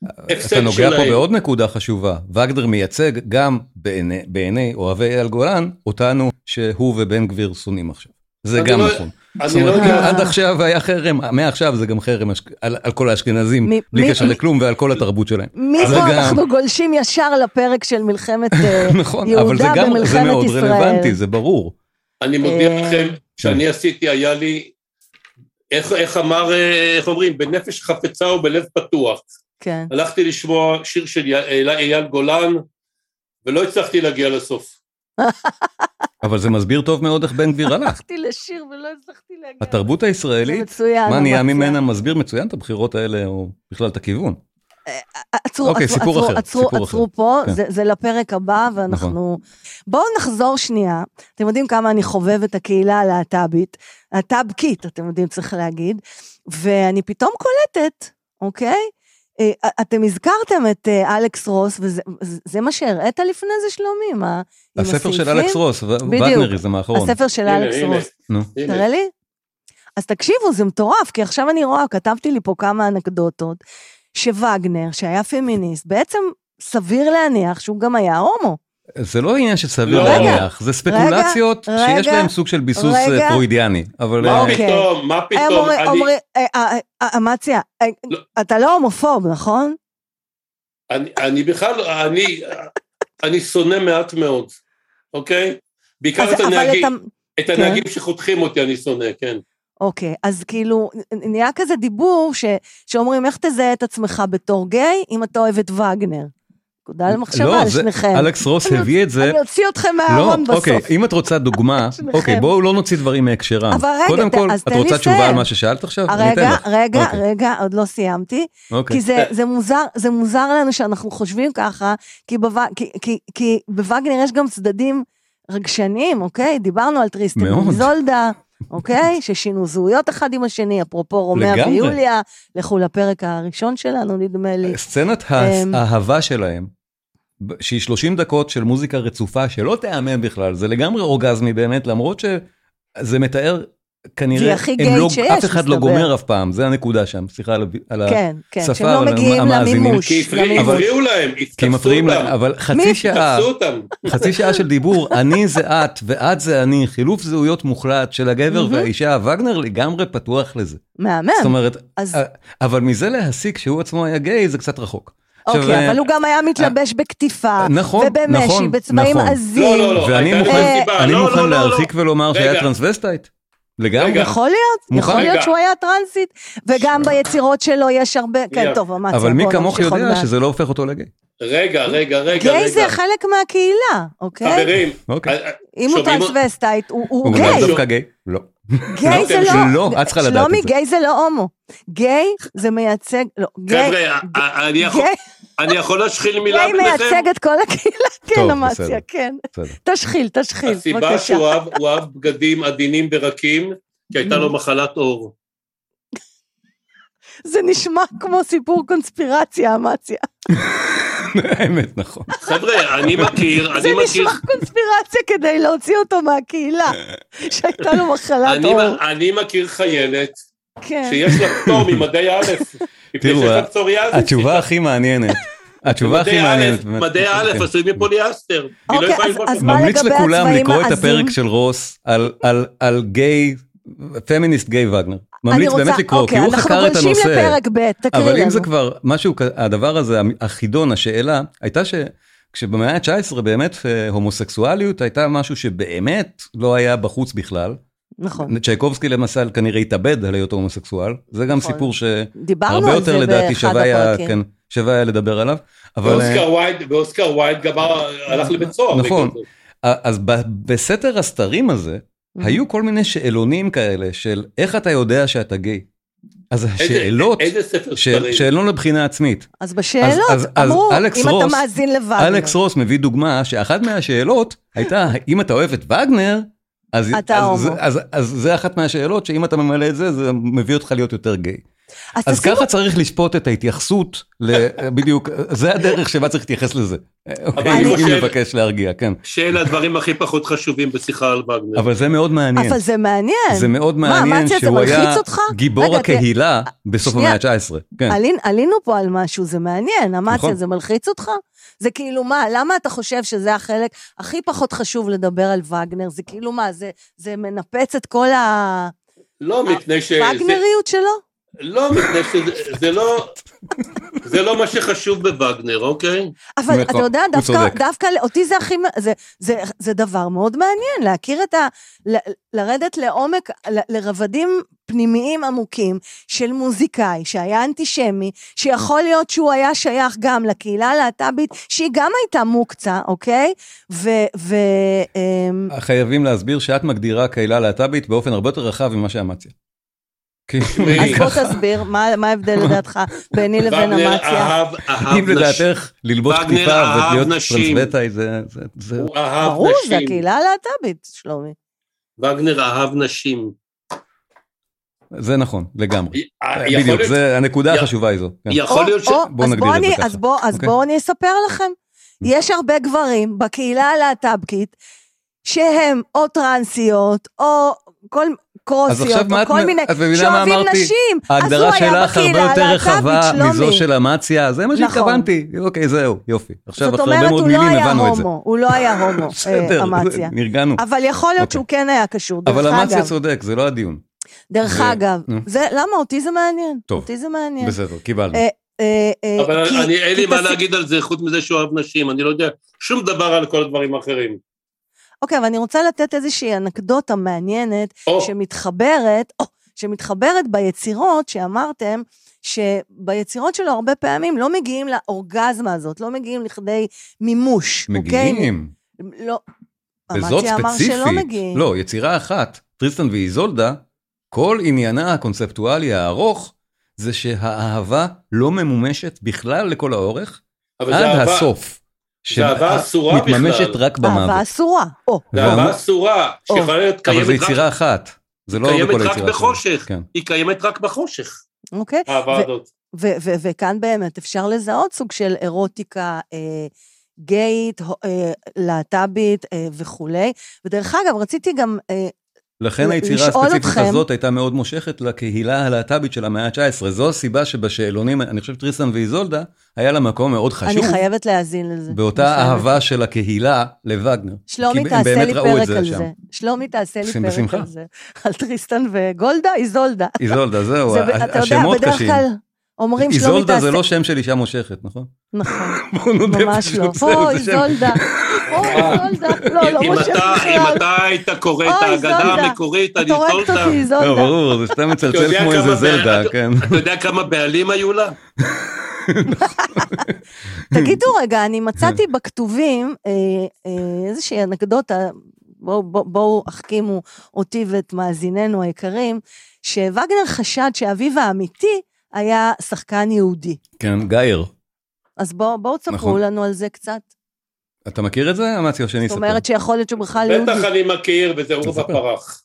Speaker 3: הפסד
Speaker 1: אתה נוגע פה
Speaker 3: שלהם.
Speaker 1: בעוד נקודה חשובה. וגנר מייצג גם בעיני- בעיני אוהבי אייל גולן, אותנו שהוא ובן גביר שונאים עכשיו. זה
Speaker 3: אני
Speaker 1: גם
Speaker 3: לא-
Speaker 1: נכון. זאת
Speaker 3: אני לא
Speaker 1: אומרת, אם
Speaker 3: יודע,
Speaker 2: אה.
Speaker 1: עד עכשיו היה חרם, מעכשיו זה גם חרם אשכ- על על כל האשכנזים,
Speaker 2: מי-
Speaker 1: בלי
Speaker 2: מי-
Speaker 1: קשר לכלום ועל כל התרבות שלהם. אבל
Speaker 2: מפה
Speaker 1: גם-
Speaker 2: אנחנו גולשים ישר לפרק של מלחמת אה,
Speaker 1: נכון, אבל זה
Speaker 2: יהודה
Speaker 1: גם, זה
Speaker 2: במלחמת
Speaker 1: מאוד רלוונטי,
Speaker 2: ישראל.
Speaker 1: זה ברור.
Speaker 3: אני מודיע
Speaker 2: אה.
Speaker 3: לכם
Speaker 1: כן.
Speaker 3: שאני עשיתי, היה לי, איך איך אמר, אה, איך אומרים, בנפש חפצה ובלב פתוח.
Speaker 2: כן.
Speaker 3: הלכתי לשמוע שיר של י- אייל- אייל גולן, ולא הצלחתי להגיע לסוף.
Speaker 1: אבל זה מסביר טוב מאוד איך בן גביר הלך.
Speaker 2: הלכתי לשיר ולא הצלחתי להגיע.
Speaker 1: התרבות
Speaker 2: זה
Speaker 1: הישראלית,
Speaker 2: מצוין.
Speaker 1: מה
Speaker 2: הוא
Speaker 1: נהיה
Speaker 2: מצוין.
Speaker 1: ממנה, מסביר מצוין את הבחירות האלה, או בכלל את הכיוון.
Speaker 2: עצרו,
Speaker 1: אוקיי,
Speaker 2: עצרו,
Speaker 1: סיפור
Speaker 2: עצרו,
Speaker 1: אחר,
Speaker 2: עצרו,
Speaker 1: סיפור
Speaker 2: עצרו פה,
Speaker 1: כן. נכון.
Speaker 2: זה, זה לפרק הבא, ואנחנו... בואו נחזור שנייה. אתם יודעים כמה אני חובבת הקהילה הלהט"בית, להט"בקית, אתם יודעים, צריך להגיד, ואני פתאום קולטת, אוקיי? אה, אתם הזכרתם את אה, אלכס רוס, וזה זה מה שהראית לפני זה, שלומי, מה? עם
Speaker 1: הספר של
Speaker 2: הסעיפים?
Speaker 1: אלכס רוס, נכון. ו-
Speaker 2: בדיוק.
Speaker 1: וגנריזם האחרון.
Speaker 2: הספר של
Speaker 3: הנה,
Speaker 2: אלכס
Speaker 3: הנה,
Speaker 2: רוס.
Speaker 1: נו.
Speaker 3: הנה.
Speaker 2: תראה לי. אז תקשיבו, זה מטורף, כי עכשיו אני רואה, כתבתי לי פה כמה אנקדוטות, שווגנר, שהיה פמיניסט, בעצם סביר להניח שהוא גם היה הומו.
Speaker 1: זה לא עניין שסביר
Speaker 3: לא.
Speaker 1: להניח, זה ספקולציות
Speaker 2: רגע,
Speaker 1: שיש
Speaker 2: רגע,
Speaker 1: להן סוג של ביסוס
Speaker 2: רגע.
Speaker 1: אה, פרוידיאני. אבל
Speaker 3: מה
Speaker 1: אה,
Speaker 2: אוקיי.
Speaker 3: פתאום, מה
Speaker 2: הם
Speaker 3: פתאום,
Speaker 2: אומרים-
Speaker 3: אני-
Speaker 2: אומרים, אה, אה, אה, אמציה, אה,
Speaker 3: לא.
Speaker 2: אתה לא הומופוב, נכון?
Speaker 3: אני- אני בכלל, לא- אני אני שונא מעט מאוד, אוקיי? בעיקר
Speaker 2: אז-
Speaker 3: את
Speaker 2: אבל כן.
Speaker 3: הנהגים,
Speaker 2: אתה-
Speaker 3: את הנהגים שחותכים אותי אני שונא, כן.
Speaker 2: אוקיי, אז כאילו, נ- נהיה כזה דיבור ש- שאומרים, איך תזהה את עצמך בתור גיי אם אתה אוהב את וגנר? נקודה למחשבה
Speaker 1: לא, זה-
Speaker 2: לשניכם.
Speaker 1: אלכס רוס
Speaker 2: אני
Speaker 1: הביא את זה.
Speaker 2: אני אוציא אתכם
Speaker 1: לא,
Speaker 2: מהארון
Speaker 1: אוקיי,
Speaker 2: בסוף.
Speaker 1: אם את רוצה דוגמה,
Speaker 2: שניכם.
Speaker 1: אוקיי, בואו לא נוציא דברים מהקשרם.
Speaker 2: אבל רגע,
Speaker 1: קודם
Speaker 2: ת-
Speaker 1: כל,
Speaker 2: אז
Speaker 1: את
Speaker 2: תן לי
Speaker 1: רוצה תשובה
Speaker 2: לסיים.
Speaker 1: על מה ששאלת עכשיו? אני אתן
Speaker 2: רגע,
Speaker 1: לך.
Speaker 2: רגע,
Speaker 1: אוקיי.
Speaker 2: רגע, עוד לא סיימתי.
Speaker 1: אוקיי.
Speaker 2: כי זה, זה, מוזר, זה מוזר לנו שאנחנו חושבים ככה, כי, בו, כי, כי, כי בווגנר יש גם צדדים רגשניים, אוקיי? דיברנו על טריסטן
Speaker 1: מאוד.
Speaker 2: וזולדה, אוקיי? ששינו זהויות אחד עם השני, אפרופו רומאה
Speaker 1: לגמרי. אה,
Speaker 2: ויוליה, לכו לפרק הראשון שלנו, נדמה לי.
Speaker 1: סצנת
Speaker 2: אמ,
Speaker 1: האהבה שלהם, ב- שהיא 30 דקות של מוזיקה רצופה שלא תיאמן בכלל, זה לגמרי אורגזמי באמת, למרות שזה מתאר כנראה,
Speaker 2: הכי
Speaker 1: הם
Speaker 2: גאית
Speaker 1: לא-
Speaker 2: שיש,
Speaker 1: אף אחד לא
Speaker 2: מסתבר.
Speaker 1: גומר אף פעם, זה הנקודה שם, סליחה על ה- על ה...
Speaker 2: כן, כן,
Speaker 1: שפה,
Speaker 2: שהם
Speaker 1: אבל
Speaker 2: לא מגיעים
Speaker 1: המאזינים-
Speaker 2: למימוש.
Speaker 3: כי הפריע-
Speaker 1: אבל-
Speaker 2: למימוש.
Speaker 3: הפריעו להם,
Speaker 1: כי
Speaker 3: התפסו
Speaker 1: מפריעים להם,
Speaker 3: אותם,
Speaker 1: אבל
Speaker 2: מי?
Speaker 1: חצי שעה,
Speaker 3: התפסו אותם.
Speaker 1: חצי שעה של דיבור, אני זה את ואת זה אני, חילוף זהויות מוחלט של הגבר
Speaker 2: מהמם.
Speaker 1: והאישה, וגנר לגמרי פתוח לזה. זאת
Speaker 2: מהמם.
Speaker 1: אומרת,
Speaker 2: אז
Speaker 1: אה, אבל מזה להסיק שהוא עצמו היה גיי זה קצת רחוק. עכשיו,
Speaker 2: אוקיי,
Speaker 1: אה,
Speaker 2: אבל הוא גם היה מתלבש בכתיפה.
Speaker 1: נכון,
Speaker 2: ובמשי,
Speaker 1: נכון,
Speaker 2: בצבעים
Speaker 1: נכון.
Speaker 2: עזים.
Speaker 3: לא, לא,
Speaker 1: ואני
Speaker 3: הייתה לזה
Speaker 1: מוכן-
Speaker 3: סיבה.
Speaker 1: אני
Speaker 3: לא,
Speaker 1: מוכן
Speaker 3: לא, לא, לא.
Speaker 1: להרחיק ולומר
Speaker 3: רגע.
Speaker 1: שהיה טרנסווסטייט. לגמרי.
Speaker 3: רגע.
Speaker 2: יכול להיות, יכול
Speaker 1: מוכן.
Speaker 2: להיות
Speaker 3: כן. רגע.
Speaker 2: שהוא היה טרנסית, וגם ביצירות שלו יש הרבה, כן,
Speaker 3: שנייה.
Speaker 2: טוב, אמציה,
Speaker 1: אבל מי
Speaker 2: בוא
Speaker 1: כמוך
Speaker 2: נמשיך עוד
Speaker 1: יודע
Speaker 2: מעט.
Speaker 1: שזה לא הופך אותו לגיי.
Speaker 3: רגע, רגע, רגע,
Speaker 2: גיי זה
Speaker 3: רגע.
Speaker 2: חלק מהקהילה, אוקיי?
Speaker 3: חברים,
Speaker 1: אוקיי.
Speaker 3: אה, אה,
Speaker 2: אם הוא
Speaker 3: שומעים-
Speaker 2: טרנסווסטייט, הוא- הוא
Speaker 1: הוא גם
Speaker 2: גיי.
Speaker 1: לאו דווקא גיי? לא.
Speaker 2: גיי
Speaker 3: לא,
Speaker 2: זה
Speaker 3: אתם
Speaker 2: לא...
Speaker 1: לא, את צריכה לדעת את
Speaker 2: שלומי,
Speaker 1: זה.
Speaker 2: גיי זה לא הומו. גיי זה מייצג... לא, גיי...
Speaker 3: חבר'ה, אה, אה, אני יכול-
Speaker 2: גיי-
Speaker 3: אני יכול להשחיל מילה
Speaker 2: גיי
Speaker 3: ביניכם?
Speaker 2: מייצג את כל הקהילה, כן,
Speaker 1: טוב,
Speaker 2: אמציה,
Speaker 1: בסדר.
Speaker 2: כן.
Speaker 1: בסדר.
Speaker 2: תשחיל, תשחיל,
Speaker 3: הסיבה
Speaker 2: בבקשה.
Speaker 3: שהוא אהב- הוא אהב בגדים עדינים ורקים, כי הייתה לו מחלת עור.
Speaker 2: זה נשמע כמו סיפור קונספירציה, אמציה.
Speaker 1: האמת, נכון.
Speaker 3: חבר'ה, אני מכיר,
Speaker 2: זה
Speaker 3: אני מכיר...
Speaker 2: נשמע קונספירציה כדי להוציא אותו מהקהילה, שהייתה לו מחלת
Speaker 3: אני-
Speaker 2: עור.
Speaker 3: אני מכיר חיילת
Speaker 2: כן.
Speaker 3: שיש לה פטור ממדי א', מפני
Speaker 1: תראו,
Speaker 3: שיש לה
Speaker 1: ה-
Speaker 3: פסוריאזיס.
Speaker 1: התשובה הכי מעניינת. התשובה הכי
Speaker 3: מדעי
Speaker 1: מעניינת.
Speaker 3: א',
Speaker 1: באמת.
Speaker 3: מדעי א',
Speaker 1: כן.
Speaker 3: עשויים מפוליאסטר. היא לא
Speaker 2: אוקיי,
Speaker 3: יכולה
Speaker 2: אז-
Speaker 3: ללבוש
Speaker 2: אז
Speaker 3: אותם.
Speaker 2: מה
Speaker 1: ממליץ
Speaker 2: לגבי
Speaker 1: לכולם
Speaker 2: הצבעים
Speaker 1: לקרוא את
Speaker 2: העזים?
Speaker 1: הפרק של רוס על- על- על גיי, פמיניסט גיי וגנר.
Speaker 2: אני
Speaker 1: ממליץ
Speaker 2: רוצה- אוקיי,
Speaker 1: באמת לקרוא, כי הוא חקר את הנושא.
Speaker 2: אנחנו גולשים לפרק ב', תקריא לנו.
Speaker 1: אבל אם זה כבר משהו, כ- הדבר הזה, החידון, השאלה, הייתה שכשבמאה ה-19 באמת אה, הומוסקסואליות הייתה משהו שבאמת לא היה בחוץ בכלל.
Speaker 2: נכון.
Speaker 1: צ'ייקובסקי למעשה כנראה התאבד על היותו הומוסקסואל, זה גם
Speaker 2: נכון.
Speaker 1: סיפור שהרבה
Speaker 2: דיברנו על זה
Speaker 1: יותר לדעתי
Speaker 2: באחד
Speaker 1: שווה היה,
Speaker 2: הפרקים.
Speaker 1: כן, שווה היה לדבר עליו. אבל, אה,
Speaker 3: ואוסקר ווייד, ואוסקר ווייד גמר, הלך לבית סוהר.
Speaker 1: נכון.
Speaker 3: בגלל זה.
Speaker 1: אז ב- בסתר הסתרים הזה,
Speaker 2: Mm-hmm.
Speaker 1: היו כל מיני שאלונים כאלה של איך אתה יודע שאתה גיי. אז
Speaker 3: איזה-
Speaker 1: השאלות,
Speaker 3: איזה ספר
Speaker 1: שאל-
Speaker 3: ספרים.
Speaker 1: שאלון לבחינה עצמית,
Speaker 2: אז בשאלות,
Speaker 1: אז- אז
Speaker 2: אמרו,
Speaker 1: אלכס
Speaker 2: אם אתה
Speaker 1: רוס-
Speaker 2: מאזין לוואגנר,
Speaker 1: אלכס רוס מביא דוגמה שאחת מהשאלות הייתה אם אתה אוהב את וגנר אז,
Speaker 2: אתה
Speaker 1: אז,
Speaker 2: הומו.
Speaker 1: אז, אז, אז זה אחת מהשאלות שאם אתה ממלא את זה זה מביא אותך להיות יותר גיי.
Speaker 2: אז
Speaker 1: אז
Speaker 2: תשימו,
Speaker 1: ככה צריך לשפוט את ההתייחסות ל... בדיוק זה הדרך שבה צריך להתייחס לזה. אוקיי,
Speaker 3: אני
Speaker 1: אם
Speaker 3: חושב-
Speaker 1: מבקש להרגיע כן
Speaker 3: שאלה הדברים הכי פחות חשובים בשיחה על וגנר.
Speaker 1: אבל זה מאוד מעניין
Speaker 2: אבל זה מעניין.
Speaker 1: זה מאוד
Speaker 2: מה,
Speaker 1: מעניין
Speaker 2: אמציה, זה
Speaker 1: שהוא
Speaker 2: מלחיץ
Speaker 1: היה
Speaker 2: אותך?
Speaker 1: גיבור
Speaker 2: רגע,
Speaker 1: הקהילה בסוף
Speaker 2: שנייה.
Speaker 1: המאה ה-19 כן.
Speaker 2: עלין- עלינו פה על משהו, זה מעניין. אמציה,
Speaker 1: נכון.
Speaker 2: זה מלחיץ אותך? זה כאילו מה, למה אתה חושב שזה החלק הכי פחות חשוב לדבר על וגנר? זה כאילו מה, זה- זה מנפץ את כל
Speaker 3: לא מפני ש... זה-
Speaker 2: הווגנריות שלו?
Speaker 3: לא מפני שזה זה לא... זה לא מה שחשוב בווגנר, אוקיי?
Speaker 2: אבל
Speaker 1: באמת
Speaker 2: אתה
Speaker 1: לא,
Speaker 2: יודע,
Speaker 1: הוא
Speaker 2: דווקא,
Speaker 1: צודק.
Speaker 2: דווקא אותי זה הכי, מ- זה, זה, זה דבר מאוד מעניין, להכיר את ה... ל, לרדת לעומק, ל, לרבדים פנימיים עמוקים של מוזיקאי שהיה אנטישמי, שיכול להיות שהוא היה שייך גם לקהילה הלהט"בית, שהיא גם הייתה מוקצה, אוקיי? ו... ו אמ,
Speaker 1: חייבים להסביר שאת מגדירה קהילה להט"בית באופן הרבה יותר רחב ממה שאמציה. כאילו,
Speaker 2: אז
Speaker 3: רגע.
Speaker 2: בוא
Speaker 1: ככה.
Speaker 2: תסביר, מה מה ההבדל לדעתך ביני לבין
Speaker 3: וגנר
Speaker 1: אה,
Speaker 2: אמציה?
Speaker 3: אהב, אהב
Speaker 1: אם
Speaker 3: נשים.
Speaker 1: לדעתך ללבוש
Speaker 3: וגנר
Speaker 1: כתיבה
Speaker 3: אהב
Speaker 1: ולהיות
Speaker 3: נשים.
Speaker 1: טרנסווטאי זה... זה- זה-
Speaker 3: הוא אהב
Speaker 2: ברור, זה
Speaker 3: נשים.
Speaker 2: הקהילה הלהט"בית, שלומי.
Speaker 3: וגנר אהב נשים.
Speaker 1: זה נכון, לגמרי.
Speaker 3: אה, יכול
Speaker 1: בדיוק,
Speaker 3: להיות-
Speaker 1: זה הנקודה
Speaker 3: י-
Speaker 1: החשובה היא זו. כן.
Speaker 3: יכול
Speaker 2: או-
Speaker 3: להיות ש...
Speaker 2: או,
Speaker 1: בוא
Speaker 2: אז
Speaker 1: נגדיר את זה
Speaker 2: אני-
Speaker 1: ככה.
Speaker 2: אז בואו אז
Speaker 1: אוקיי.
Speaker 2: בואו אני אספר לכם. יש הרבה גברים בקהילה הלהט"בקית שהם או טרנסיות, או כל
Speaker 1: אז
Speaker 2: קרוסיות,
Speaker 1: עכשיו מה
Speaker 2: או
Speaker 1: את
Speaker 2: כל
Speaker 1: מ-
Speaker 2: מיני,
Speaker 1: את מבינה מה
Speaker 2: שאוהבים
Speaker 1: אמרתי?
Speaker 2: נשים. אז הוא
Speaker 1: ההגדרה
Speaker 2: היה
Speaker 1: שלך הרבה
Speaker 2: בקהילה
Speaker 1: יותר
Speaker 2: הלהט"בית,
Speaker 1: רחבה מזו
Speaker 2: שלומי.
Speaker 1: של אמציה, זה מה
Speaker 2: נכון.
Speaker 1: שהתכוונתי. אוקיי, זהו, יופי. עכשיו
Speaker 2: זאת
Speaker 1: אחרי הרבה
Speaker 2: אומרת, הוא
Speaker 1: מאוד
Speaker 2: לא
Speaker 1: מילים
Speaker 2: היה
Speaker 1: הבנו את זה.
Speaker 2: הומו, הוא לא היה הומו, אה,
Speaker 1: בסדר,
Speaker 2: אמציה.
Speaker 1: נרגענו.
Speaker 2: אבל יכול להיות
Speaker 1: אוקיי.
Speaker 2: שהוא כן היה קשור, דרך
Speaker 1: אבל אמציה
Speaker 2: אגב.
Speaker 1: צודק, זה לא הדיון.
Speaker 2: דרך
Speaker 1: זה-
Speaker 2: אגב,
Speaker 1: נו.
Speaker 2: זה- למה אותי זה מעניין?
Speaker 1: טוב.
Speaker 2: אותי זה מעניין.
Speaker 1: בסדר, קיבלנו.
Speaker 2: אה, אה, אה,
Speaker 3: אבל
Speaker 2: כי-
Speaker 3: אני, אין
Speaker 2: כי
Speaker 3: לי מה
Speaker 2: תסי-
Speaker 3: להגיד על זה, חוץ מזה שהוא אוהב נשים, אני לא יודע שום דבר על כל הדברים האחרים.
Speaker 2: אוקיי, אבל אני רוצה לתת איזושהי אנקדוטה מעניינת
Speaker 3: או,
Speaker 2: שמתחברת, או, שמתחברת ביצירות שאמרתם, שביצירות שלו הרבה פעמים לא מגיעים לאורגזמה הזאת, לא מגיעים לכדי מימוש. אוקיי?
Speaker 1: מגיעים.
Speaker 2: לא.
Speaker 1: וזאת
Speaker 2: אמציה אמר
Speaker 1: ספציפית,
Speaker 2: שלא מגיעים.
Speaker 1: לא, יצירה אחת, טריסטן ואיזולדה, כל עניינה הקונספטואלי הארוך, זה שהאהבה לא ממומשת בכלל לכל האורך,
Speaker 3: אבל זה
Speaker 1: עד
Speaker 3: אהבה,
Speaker 1: אה, הסוף.
Speaker 3: זה אהבה אסורה בכלל.
Speaker 1: מתממשת רק
Speaker 2: אהבה
Speaker 1: במוות.
Speaker 2: אסורה. או,
Speaker 3: זה
Speaker 1: ואמר-
Speaker 3: אהבה אסורה,
Speaker 2: או.
Speaker 3: שיכולה להיות
Speaker 1: אבל זו
Speaker 3: קיימת רק-
Speaker 1: יצירה אחת, זה לא
Speaker 3: קיימת
Speaker 1: בכל
Speaker 3: רק
Speaker 1: היצירה. שלו.
Speaker 3: בחושך.
Speaker 1: כן.
Speaker 3: היא קיימת רק בחושך,
Speaker 2: אוקיי?
Speaker 3: האהבה
Speaker 2: ו-
Speaker 3: הזאת.
Speaker 2: ו- ו- וכאן באמת אפשר לזהות סוג של אירוטיקה אה, גייט, הו- אה, להט"בית אה, וכולי. ודרך אגב, רציתי גם אה,
Speaker 1: לכן היצירה
Speaker 2: לשאול
Speaker 1: הספציפית
Speaker 2: אתכם-
Speaker 1: הזאת הייתה מאוד מושכת לקהילה הלהט"בית של המאה ה-19. זו הסיבה שבשאלונים, אני חושב שטריסן ואיזולדה, היה לה מקום מאוד חשוב
Speaker 2: אני חייבת להאזין לזה. אני
Speaker 1: באותה
Speaker 2: חייבת.
Speaker 1: אהבה של הקהילה לווגנר.
Speaker 2: שלומי,
Speaker 1: כי הם
Speaker 2: תעשה
Speaker 1: באמת
Speaker 2: לי
Speaker 1: ראו את
Speaker 2: פרק
Speaker 1: זה
Speaker 2: על
Speaker 1: שם.
Speaker 2: זה. שלומי, תעשה לי
Speaker 1: בשמחה.
Speaker 2: פרק על זה. על טריסטן וגולדה, איזולדה.
Speaker 1: איזולדה, זהו,
Speaker 2: זה-
Speaker 1: ה-
Speaker 2: אתה יודע,
Speaker 1: השמות
Speaker 2: בדרך
Speaker 1: קשים.
Speaker 2: כלל אומרים שלומי,
Speaker 1: איזולדה
Speaker 2: תעשה...
Speaker 1: זה לא שם של אישה מושכת, נכון?
Speaker 2: נכון,
Speaker 1: בוא נודה
Speaker 2: ממש
Speaker 1: פשוט,
Speaker 2: לא.
Speaker 1: זהו,
Speaker 2: אוי,
Speaker 1: זה שם-
Speaker 2: איזולדה. אוי, איזולדה. לא, לא
Speaker 3: אם
Speaker 2: מושך
Speaker 3: אתה- אם
Speaker 2: בכלל.
Speaker 3: אתה היית קורא את
Speaker 2: אוי,
Speaker 3: ההגדה
Speaker 2: זולדה.
Speaker 3: המקורית, אני
Speaker 2: אתה הורגת
Speaker 3: זולדה.
Speaker 2: אותי,
Speaker 1: לא,
Speaker 2: איזולדה.
Speaker 1: ברור, זה שאתה
Speaker 3: אתה יודע
Speaker 1: מצלצל כמו
Speaker 3: כמה
Speaker 1: איזה
Speaker 3: בעל-
Speaker 1: זלדה,
Speaker 3: אתה-
Speaker 1: כן.
Speaker 3: אתה יודע כמה בעלים היו לה?
Speaker 2: תגידו רגע, אני מצאתי בכתובים אה, אה, איזושהי אנקדוטה, בואו בוא, בואו החכימו אותי ואת מאזיננו היקרים, שווגנר חשד שאביו האמיתי היה שחקן יהודי.
Speaker 1: כן, גייר.
Speaker 2: אז בואו בוא תספרו
Speaker 1: נכון.
Speaker 2: לנו על זה קצת.
Speaker 1: אתה מכיר את זה, אמציה, או שאני
Speaker 2: זאת
Speaker 1: אספר?
Speaker 2: אומרת שיכול להיות שהוא בכלל יהודי.
Speaker 3: בטח אני מכיר, וזה עורב
Speaker 1: תספר.
Speaker 3: הפרח.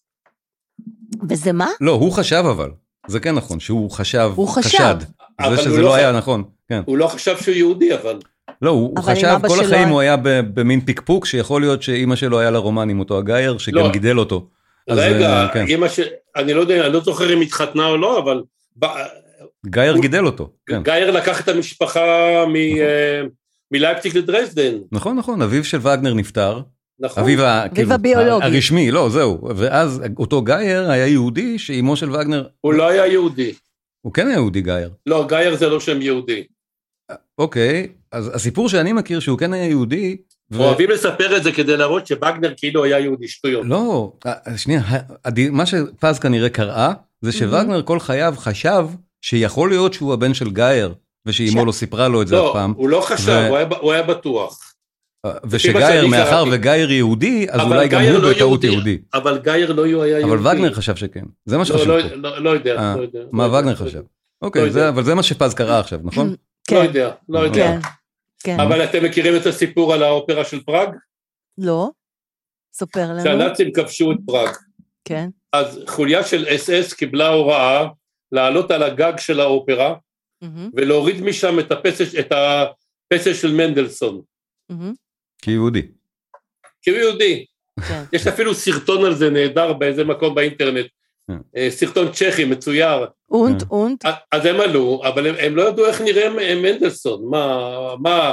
Speaker 2: וזה מה?
Speaker 1: לא, הוא חשב אבל. זה כן נכון, שהוא חשב,
Speaker 2: הוא חשב.
Speaker 1: חשד.
Speaker 3: אבל
Speaker 1: זה
Speaker 3: הוא
Speaker 1: שזה
Speaker 3: לא
Speaker 1: לא
Speaker 3: חשב.
Speaker 1: היה נכון, כן.
Speaker 3: הוא לא חשב שהוא יהודי, אבל.
Speaker 1: לא, הוא הוא
Speaker 2: אבל עם
Speaker 1: חשב,
Speaker 2: אבא
Speaker 1: כל
Speaker 2: שלו
Speaker 1: החיים
Speaker 2: היה-
Speaker 1: הוא היה ב- במין פקפוק, שיכול להיות שאימא שלו היה לה רומן עם אותו הגייר, שגם
Speaker 3: לא.
Speaker 1: גידל אותו. אז,
Speaker 3: רגע,
Speaker 1: אה, כן.
Speaker 3: אמא ש... אני לא יודע, אני לא זוכר אם התחתנה או לא, אבל ב-
Speaker 1: גייר
Speaker 3: הוא-
Speaker 1: גידל אותו, כן.
Speaker 3: גייר לקח את המשפחה מ... אה, מלייפציג לדרזדן,
Speaker 1: נכון, נכון, אביו של וגנר נפטר,
Speaker 3: נכון?
Speaker 1: אביו ה- כאילו,
Speaker 2: כן, הביולוגי.
Speaker 1: ה- הרשמי, לא, זהו. ואז אותו גייר היה יהודי שאימו של וגנר,
Speaker 3: הוא לא היה יהודי.
Speaker 1: הוא כן היה יהודי גייר.
Speaker 3: לא, גייר זה לא שם יהודי.
Speaker 1: אוקיי, אז הסיפור שאני מכיר שהוא כן היה יהודי, ו-
Speaker 3: אוהבים לספר את זה כדי להראות שווגנר כאילו היה יהודי, שטויות.
Speaker 1: לא, אה, שנייה, הד- מה שפז כנראה קראה,
Speaker 2: Mhm.
Speaker 1: זה שווגנר כל חייו חשב שיכול להיות שהוא הבן של גייר, ושאימו
Speaker 2: ש-
Speaker 1: לא סיפרה לו את זה אף
Speaker 3: לא,
Speaker 1: פעם,
Speaker 3: הוא לא חשב,
Speaker 1: ו-
Speaker 3: הוא היה- הוא היה בטוח.
Speaker 1: אה,
Speaker 3: לפי מה
Speaker 1: ושגייר,
Speaker 3: שאני
Speaker 1: מאחר
Speaker 3: קראתי.
Speaker 1: וגייר יהודי, אז
Speaker 3: אבל
Speaker 1: אולי גם
Speaker 3: גייר
Speaker 1: הוא
Speaker 3: לא
Speaker 1: בטעות
Speaker 3: יהודי.
Speaker 1: יהודי.
Speaker 3: אבל גייר לא היה יהודי.
Speaker 1: אבל וגנר חשב שכן, זה מה שחשוב
Speaker 3: לא,
Speaker 1: פה.
Speaker 3: לא, לא, לא יודע,
Speaker 1: אה,
Speaker 3: לא יודע.
Speaker 1: מה
Speaker 3: לא יודע,
Speaker 1: וגנר
Speaker 3: לא
Speaker 1: חשב?
Speaker 3: יודע.
Speaker 1: אוקיי,
Speaker 3: לא
Speaker 1: זה-
Speaker 3: יודע.
Speaker 1: אבל זה מה שפז קראה עכשיו, נכון?
Speaker 3: לא
Speaker 2: כן,
Speaker 3: יודע, לא
Speaker 1: אוקיי.
Speaker 3: יודע.
Speaker 2: כן, כן.
Speaker 3: אבל אתם מכירים את הסיפור על האופרה של פראג?
Speaker 2: לא? ספר לנו.
Speaker 3: כשהנאצים כבשו את פראג.
Speaker 2: כן.
Speaker 3: אז חוליה של אס אס קיבלה הוראה לעלות על הגג של האופרה
Speaker 2: מהמם,
Speaker 3: ולהוריד משם את הפסל, את הפסל של מנדלסון.
Speaker 1: כן.
Speaker 2: מהמם,
Speaker 1: כיהודי.
Speaker 3: כי הוא יהודי.
Speaker 2: כן.
Speaker 3: יש אפילו סרטון על זה נהדר באיזה מקום באינטרנט.
Speaker 1: כן.
Speaker 3: אה, סרטון צ'כי מצויר.
Speaker 2: אונט, אונט.
Speaker 3: אז- אז הם עלו, אבל הם, הם לא ידעו איך נראה מ- מנדלסון. מה, מה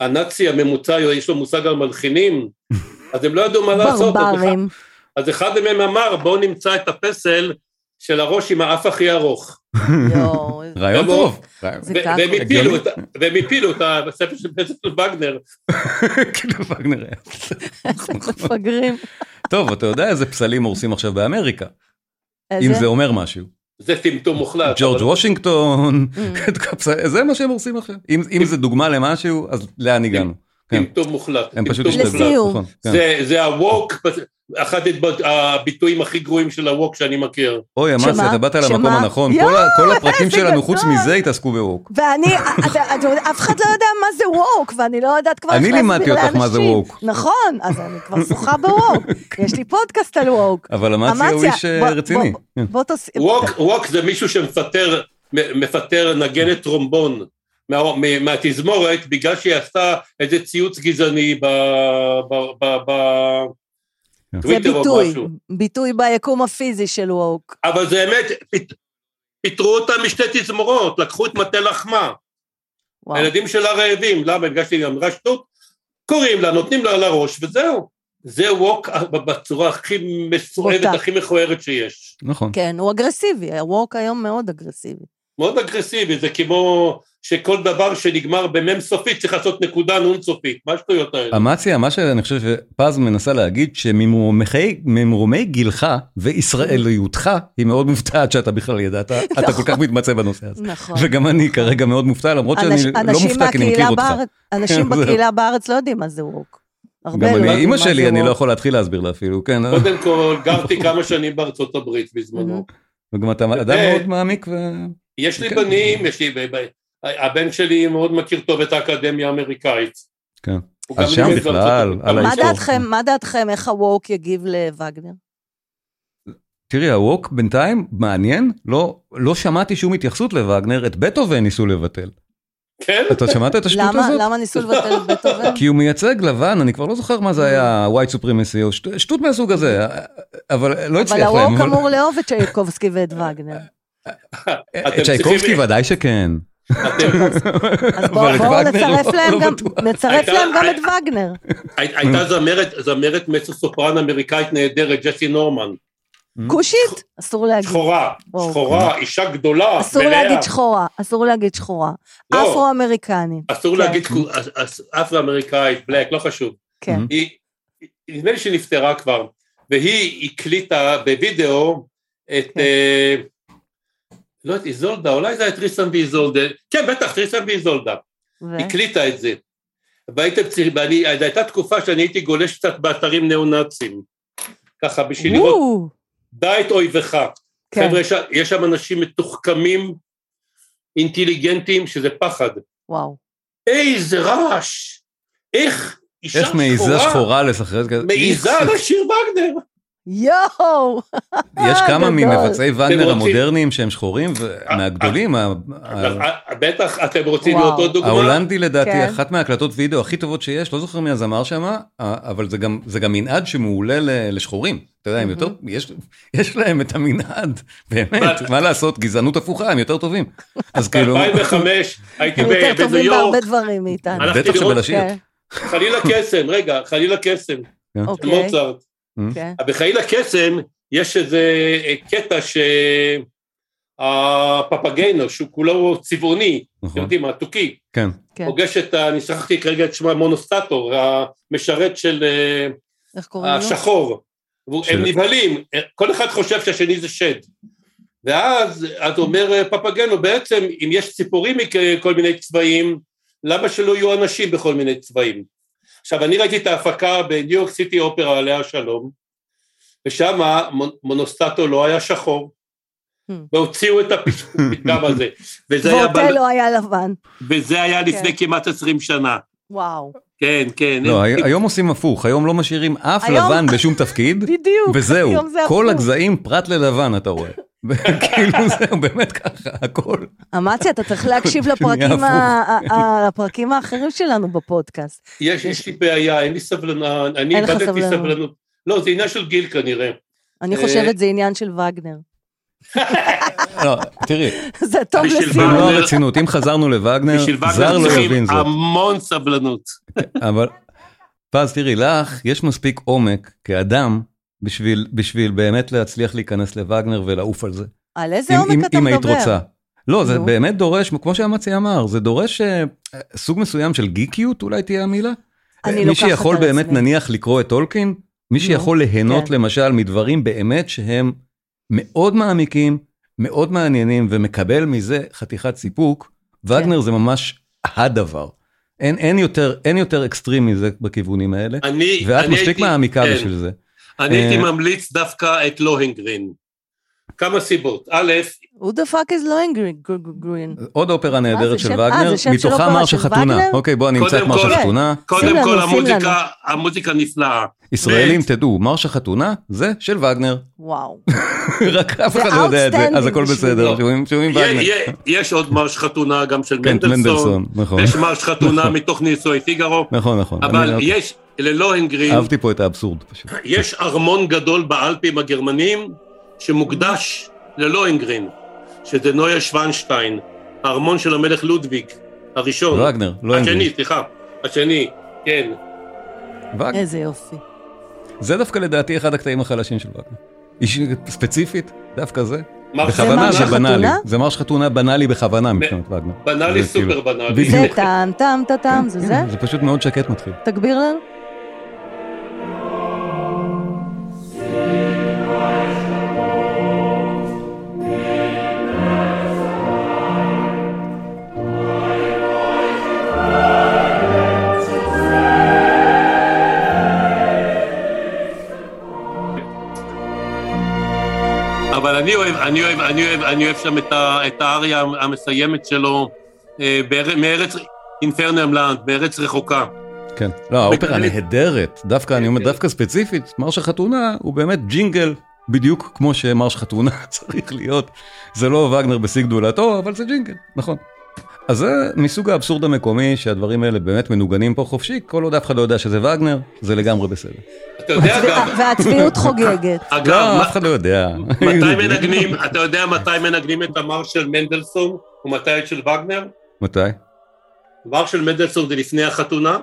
Speaker 3: הנאצי הממוצע, יש לו מושג על מלחינים? אז הם לא ידעו מה לעשות. אז אחד-
Speaker 2: ברברים.
Speaker 3: אז אחד מהם אמר, בואו נמצא את הפסל של הראש עם האף הכי ארוך.
Speaker 2: יואו, איזה-
Speaker 1: רעיון
Speaker 3: זה
Speaker 1: טוב.
Speaker 2: זה
Speaker 3: ו-
Speaker 2: ככה.
Speaker 3: והם הפילו
Speaker 1: הגיוני.
Speaker 3: את ה- והם הפילו את הספר של פסל של וגנר.
Speaker 1: כאילו וגנר היה.
Speaker 2: איזה מפגרים.
Speaker 1: טוב, אתה יודע איזה פסלים הורסים עכשיו באמריקה, אם
Speaker 2: איזה-
Speaker 1: זה אומר משהו.
Speaker 3: זה טמטום מוחלט.
Speaker 1: ג'ורג'
Speaker 3: אה, אבל-
Speaker 1: וושינגטון,
Speaker 2: Mm.
Speaker 1: את קפס- זה מה שהם הורסים עכשיו. אם, אם זה דוגמה למשהו, אז לאן הגענו? כן.
Speaker 3: טמטום מוחלט.
Speaker 1: הם פשוט
Speaker 3: טמטום
Speaker 2: השתגעו.
Speaker 1: השתגעו,
Speaker 3: מוחלט.
Speaker 2: לסיום.
Speaker 1: נכון. כן.
Speaker 3: זה- זה הווק, אחד התב- הביטויים הכי גרועים של הווק שאני מכיר.
Speaker 1: אוי,
Speaker 2: שמה?
Speaker 1: אמציה, אתה באת למקום
Speaker 2: שמה?
Speaker 1: הנכון.
Speaker 2: יואו,
Speaker 1: כל ה- כל הפרקים
Speaker 2: איזה
Speaker 1: שלנו,
Speaker 2: גדול.
Speaker 1: חוץ מזה, התעסקו בווק.
Speaker 2: ואני, אתה- אתה יודע, אף אחד לא יודע מה זה ווק, ואני לא יודעת כבר איך
Speaker 1: אני
Speaker 2: להסביר לאנשים.
Speaker 1: לימדתי אותך מה זה ווק.
Speaker 2: נכון, אז אני כבר שוחה בווק. יש לי פודקאסט על ווק.
Speaker 1: אבל אמציה הוא איש אה,
Speaker 2: בוא-
Speaker 1: רציני.
Speaker 2: בוא- בוא תוס...
Speaker 3: ווק- ווק זה מישהו שמפטר מ- מפטר נגנת טרומבון. מה- מ- מהתזמורת בגלל שהיא עשתה איזה ציוץ גזעני בטוויטר
Speaker 1: כן.
Speaker 2: זה
Speaker 3: או
Speaker 2: ביטוי,
Speaker 3: משהו.
Speaker 2: ביטוי ביקום הפיזי של ווק.
Speaker 3: אבל זה אמת, פת- פיטרו אותה משתי תזמורות, לקחו את מטה לחמה.
Speaker 2: וואו.
Speaker 3: הילדים שלה רעבים, למה? הרגשתי שהיא אמרה שטות? קוראים לה, נותנים לה לראש, וזהו. זה ווק בצורה הכי מסוערת,
Speaker 2: בוטה.
Speaker 3: הכי מכוערת שיש.
Speaker 1: נכון.
Speaker 2: כן, הוא אגרסיבי, הווק היום מאוד אגרסיבי.
Speaker 3: מאוד אגרסיבי, זה כמו שכל דבר שנגמר במ"ם סופית צריך לעשות נקודה נ"ן סופית, מה השטויות האלה?
Speaker 1: אמציה, מה שאני חושב שפז מנסה להגיד, שממרומי גילך וישראליותך, היא מאוד מופתעת שאתה בכלל ידעת, אתה כל כך מתמצא בנושא הזה.
Speaker 2: נכון.
Speaker 1: וגם אני כרגע מאוד מופתע, למרות שאני
Speaker 2: אנש-
Speaker 1: לא מופתע כי אני מכיר
Speaker 2: מהקהילה
Speaker 1: אותך.
Speaker 2: בארץ- אנשים
Speaker 1: זהו.
Speaker 2: בקהילה בארץ לא יודעים מה זה ווק. הרבה
Speaker 1: גם
Speaker 2: לא
Speaker 1: אני,
Speaker 2: יודעים
Speaker 1: אימא
Speaker 2: מה זה
Speaker 1: שלי, אני לא
Speaker 2: ווק.
Speaker 1: יכול להתחיל להסביר לה אפילו, כן.
Speaker 3: קודם כל, גרתי כמה שנים בארצות הברית בזמנו.
Speaker 1: וגם אתה אדם
Speaker 3: אה,
Speaker 1: מאוד מעמיק ו...
Speaker 3: יש לי
Speaker 1: כן.
Speaker 3: בנים, יש לי... ב- ב- הבן שלי מאוד מכיר טוב את האקדמיה האמריקאית.
Speaker 1: כן.
Speaker 3: הוא
Speaker 1: אז
Speaker 3: גם
Speaker 1: שם
Speaker 3: לימד
Speaker 1: בכלל,
Speaker 3: בארצות
Speaker 1: על
Speaker 3: הברית.
Speaker 2: מה
Speaker 1: ההיסטוריה.
Speaker 2: דעתכם, מה דעתכם, איך הווק יגיב לווגנר?
Speaker 1: תראי, הווק בינתיים, מעניין, לא, לא שמעתי שום התייחסות לווגנר, את בטהובן ניסו לבטל.
Speaker 3: כן?
Speaker 1: אתה שמעת את השטות
Speaker 2: למה,
Speaker 1: הזאת?
Speaker 2: למה ניסו לבטל את בטהובן?
Speaker 1: כי הוא מייצג לבן, אני כבר לא זוכר מה זה היה, white supremacy או שט- שטות מהסוג הזה, אבל לא
Speaker 2: אבל
Speaker 1: הצליח להם.
Speaker 2: הרוק אמור לאהוב את צ'ייקובסקי ואת וגנר.
Speaker 1: את אה, צ'ייקובסקי
Speaker 3: צריכים-
Speaker 1: ודאי שכן.
Speaker 3: אתם-
Speaker 2: אז בואו
Speaker 1: אבל את
Speaker 2: בואו
Speaker 1: וגנר לא-
Speaker 2: נצרף להם
Speaker 1: לא
Speaker 2: גם-
Speaker 1: בטוח.
Speaker 2: נצרף
Speaker 3: הייתה-
Speaker 2: להם גם
Speaker 3: הי-
Speaker 2: את וגנר.
Speaker 1: Mm-hmm.
Speaker 3: הי- הייתה זמרת, זמרת מצו סופרן אמריקאית נהדרת, ג'סי נורמן,
Speaker 2: כושית? אסור להגיד.
Speaker 3: שחורה,
Speaker 2: וואו.
Speaker 3: שחורה, אישה גדולה,
Speaker 2: אסור
Speaker 3: מלאה.
Speaker 2: להגיד שחורה, אסור להגיד שחורה.
Speaker 3: לא.
Speaker 2: אפרו-אמריקנית,
Speaker 3: אסור
Speaker 2: כן.
Speaker 3: להגיד כו- אס- אס- אפרו-אמריקאית, בלק, לא חשוב.
Speaker 2: כן.
Speaker 3: היא, נדמה לי שהיא נפטרה כבר, והיא הקליטה בווידאו
Speaker 2: כן.
Speaker 3: את, אה, לא את איזולדה, אולי זה היה טריסטן ואיזולדה, כן בטח, טריסטן ואיזולדה,
Speaker 2: ו-
Speaker 3: הקליטה את זה. והייתם צריכים, ואני, זו הייתה תקופה שאני הייתי גולש קצת באתרים ניאו-נאצים, ככה בשביל לראות,
Speaker 2: וואו,
Speaker 3: דע את אויביך.
Speaker 2: כן,
Speaker 3: חבר'ה, יש שם- יש שם אנשים מתוחכמים, אינטליגנטים, שזה פחד.
Speaker 2: וואו.
Speaker 3: איזה רעש! איך אישה
Speaker 1: איך מעיזה שחורה לשחרר כזה?
Speaker 3: מעיזה
Speaker 1: איך-
Speaker 3: לשיר וגנר.
Speaker 2: יואו!
Speaker 1: יש כמה
Speaker 2: אה, גדול.
Speaker 1: ממבצעי
Speaker 3: אתם
Speaker 1: וגנר
Speaker 3: רוצים- אה,
Speaker 1: המודרניים שהם שחורים, ומהגדולים, ה- ה-
Speaker 3: אז- אה, בטח, אתם רוצים
Speaker 2: וואו.
Speaker 3: לראות עוד דוגמה?
Speaker 1: ההולנדי לדעתי,
Speaker 2: כן.
Speaker 1: אחת מההקלטות וידאו הכי טובות שיש, לא זוכר מי הזמר שם, אה, אבל זה גם- זה גם מנעד שמעולה ל- לשחורים. אתה יודע, הם
Speaker 2: מהמם.
Speaker 1: יותר, יש- יש להם את המנעד, באמת,
Speaker 3: אבל-
Speaker 1: מה לעשות, גזענות הפוכה, הם יותר טובים. אז כאילו,
Speaker 3: ב-2005 הייתי
Speaker 2: הם
Speaker 3: ב-
Speaker 2: יותר
Speaker 3: בניו
Speaker 2: טובים
Speaker 3: יורק,
Speaker 2: בהרבה דברים מאיתנו.
Speaker 3: הלכתי
Speaker 1: בטח
Speaker 3: לראות-
Speaker 1: שבלשיר.
Speaker 2: כן,
Speaker 3: חלילה קסם, רגע, חלילה קסם, של
Speaker 2: אוקיי,
Speaker 3: מוצרט.
Speaker 2: כן.
Speaker 3: בחלילה קסם יש איזה אה, קטע שהפפגיינו, שהוא כולו צבעוני, אתם
Speaker 1: נכון,
Speaker 3: יודעים, התוכי,
Speaker 1: כן.
Speaker 2: כן.
Speaker 3: פוגש את, ה- אני שכחתי כרגע את שמה, מונוסטטור, המשרת של אה,
Speaker 2: איך קוראים לו?
Speaker 3: השחור. והוא-
Speaker 1: של-
Speaker 3: הם נבהלים, כל אחד חושב שהשני זה שד. ואז אז אומר פפגנו, בעצם אם יש ציפורים מכל מיני צבעים, למה שלא יהיו אנשים בכל מיני צבעים? עכשיו, אני ראיתי את ההפקה בניו יורק סיטי אופרה עליה השלום, ושם מונוסטטו לא היה שחור,
Speaker 2: Hmm.
Speaker 3: והוציאו את הפתגם הזה. וזה היה, ב-
Speaker 2: ואוטלו לא היה לבן.
Speaker 3: וזה היה
Speaker 2: כן.
Speaker 3: לפני כמעט עשרים שנה.
Speaker 2: וואו.
Speaker 3: כן, כן.
Speaker 1: לא,
Speaker 3: הם-
Speaker 1: הי- היום עושים הפוך, היום לא משאירים אף
Speaker 2: היום-
Speaker 1: לבן בשום תפקיד,
Speaker 2: בדיוק.
Speaker 1: וזהו,
Speaker 2: היום זה
Speaker 1: כל
Speaker 2: הפוך.
Speaker 1: הגזעים פרט ללבן אתה רואה. כאילו זהו, באמת ככה, הכל.
Speaker 2: אמציה, אתה צריך להקשיב
Speaker 1: שנהיה
Speaker 2: לפרקים,
Speaker 1: הפוך.
Speaker 2: ה- ה- ה- לפרקים האחרים שלנו בפודקאסט.
Speaker 3: יש, יש לי בעיה, אין לי סבלנות, אני
Speaker 2: אין לך
Speaker 3: איבדתי
Speaker 2: סבלנות.
Speaker 3: סבלנות. לא, זה עניין של גיל כנראה.
Speaker 2: אני
Speaker 3: אה.
Speaker 2: חושבת זה עניין של וגנר.
Speaker 1: לא, תראי,
Speaker 2: זה טוב
Speaker 3: בשביל
Speaker 1: במלוא
Speaker 2: לסיום.
Speaker 3: וגנר-
Speaker 1: הרצינות, אם חזרנו לווגנר,
Speaker 3: בשביל
Speaker 1: זר
Speaker 3: וגנר
Speaker 1: לא
Speaker 3: צריכים
Speaker 1: יבין זאת.
Speaker 3: המון סבלנות.
Speaker 1: אבל, פז, תראי, לך יש מספיק עומק כאדם בשביל, בשביל באמת להצליח להיכנס לווגנר ולעוף על זה.
Speaker 2: על איזה עומק אתה
Speaker 1: אם היית
Speaker 2: מדבר?
Speaker 1: רוצה. לא, זה
Speaker 2: נו.
Speaker 1: באמת דורש, כמו שאמצי אמר, זה דורש אה, סוג מסוים של גיקיות, אולי תהיה המילה. אה,
Speaker 2: אני
Speaker 1: מי
Speaker 2: לוקחת
Speaker 1: שיכול
Speaker 2: על
Speaker 1: באמת,
Speaker 2: עצמי.
Speaker 1: נניח, לקרוא את טולקין, מי
Speaker 2: נו,
Speaker 1: שיכול ליהנות
Speaker 2: כן.
Speaker 1: למשל מדברים באמת שהם מאוד מעמיקים, מאוד מעניינים, ומקבל מזה חתיכת סיפוק,
Speaker 2: כן.
Speaker 1: וגנר זה ממש הדבר. אין, אין, יותר, אין יותר אקסטרים מזה בכיוונים האלה,
Speaker 3: אני,
Speaker 1: ואת
Speaker 3: אני
Speaker 1: מספיק
Speaker 3: הייתי-
Speaker 1: מעמיקה
Speaker 3: כן.
Speaker 1: בשביל זה.
Speaker 3: אני הייתי
Speaker 1: אה.
Speaker 3: ממליץ דווקא את לוהנגרין. כמה סיבות. א',
Speaker 2: Who the fuck is לוינגרין? גרין.
Speaker 1: עוד אופרה נהדרת של
Speaker 2: שם- אה,
Speaker 1: וגנר,
Speaker 2: זה שם של
Speaker 1: מתוכה
Speaker 2: אופרה
Speaker 1: מרשה
Speaker 2: של
Speaker 1: חתונה.
Speaker 2: וגנר?
Speaker 1: אוקיי, בוא אני אמצא את
Speaker 3: קודם
Speaker 1: מרשה
Speaker 3: כל- כן.
Speaker 1: חתונה.
Speaker 3: קודם
Speaker 2: לנו,
Speaker 3: כל
Speaker 2: שים
Speaker 3: המוזיקה, המוזיקה נפלאה.
Speaker 1: ישראלים, תדעו, מרשה חתונה זה של וגנר.
Speaker 2: וואו.
Speaker 1: רק אף
Speaker 2: זה
Speaker 1: אחד לא יודע את זה, אז
Speaker 2: outstanding
Speaker 1: הכל בסדר,
Speaker 3: בשבילו.
Speaker 1: שומעים שומעים
Speaker 3: יה-
Speaker 1: וגנר.
Speaker 3: יה- יש עוד מרש חתונה גם של
Speaker 1: כן,
Speaker 3: מנדלסון.
Speaker 1: מנדלסון, נכון.
Speaker 3: יש מרש חתונה מתוך נישואי פיגארו.
Speaker 1: נכון, נכון.
Speaker 3: אבל
Speaker 1: אני-
Speaker 3: יש, ללוהנגרין,
Speaker 1: אהבתי פה את האבסורד פשוט.
Speaker 3: יש ארמון גדול באלפים הגרמנים שמוקדש ללוהנגרין, שזה נויה שוונשטיין, הארמון של המלך לודוויג, הראשון.
Speaker 1: וגנר, לא
Speaker 3: השני,
Speaker 1: אנגלית.
Speaker 3: סליחה, השני, כן.
Speaker 1: וגנר.
Speaker 2: איזה יופי.
Speaker 1: זה דווקא לדעתי אחד הקטעים החלשים של וגנר. איש- ספציפית, דווקא זה.
Speaker 3: מר
Speaker 1: בכוונה
Speaker 2: מרש
Speaker 1: זה
Speaker 3: חתונה,
Speaker 1: בנאלי.
Speaker 2: חתונה?
Speaker 1: זה מרש חתונה בנאלי בכוונה מבחינת וגנר.
Speaker 3: בנאלי,
Speaker 1: זה כאילו-
Speaker 3: סופר בנאלי.
Speaker 1: בדיוק.
Speaker 2: זה טעם טעם טעם טעם, זה זה?
Speaker 1: כן, זה פשוט מאוד שקט מתחיל.
Speaker 2: תגביר לנו.
Speaker 3: אבל אני אוהב, אני אוהב, אני אוהב, אני אוהב שם את ה- את האריה המסיימת שלו, אה, באר- מארץ אינפרנם לנד, בארץ רחוקה.
Speaker 1: כן. לא, האופרה
Speaker 3: בגלל-
Speaker 1: נהדרת. דווקא, אני אומר,
Speaker 3: נהדרת.
Speaker 1: דווקא ספציפית, מרש החתונה הוא באמת ג'ינגל, בדיוק כמו שמרש חתונה צריך להיות. זה לא וגנר בשיא גדולתו, אבל זה ג'ינגל, נכון. אז זה מסוג האבסורד המקומי שהדברים האלה באמת מנוגנים פה חופשי, כל עוד אף אחד לא יודע שזה וגנר, זה לגמרי בסדר.
Speaker 3: אתה יודע גם,
Speaker 2: והצביעות חוגגת.
Speaker 1: לא,
Speaker 3: אגב,
Speaker 1: אף אחד לא יודע.
Speaker 3: מתי מנגנים, אתה יודע מתי מנגנים את המרש של מנדלסון ומתי את של וגנר?
Speaker 1: מתי?
Speaker 3: כן, המרש של מנדלסון זה לפני החתונה,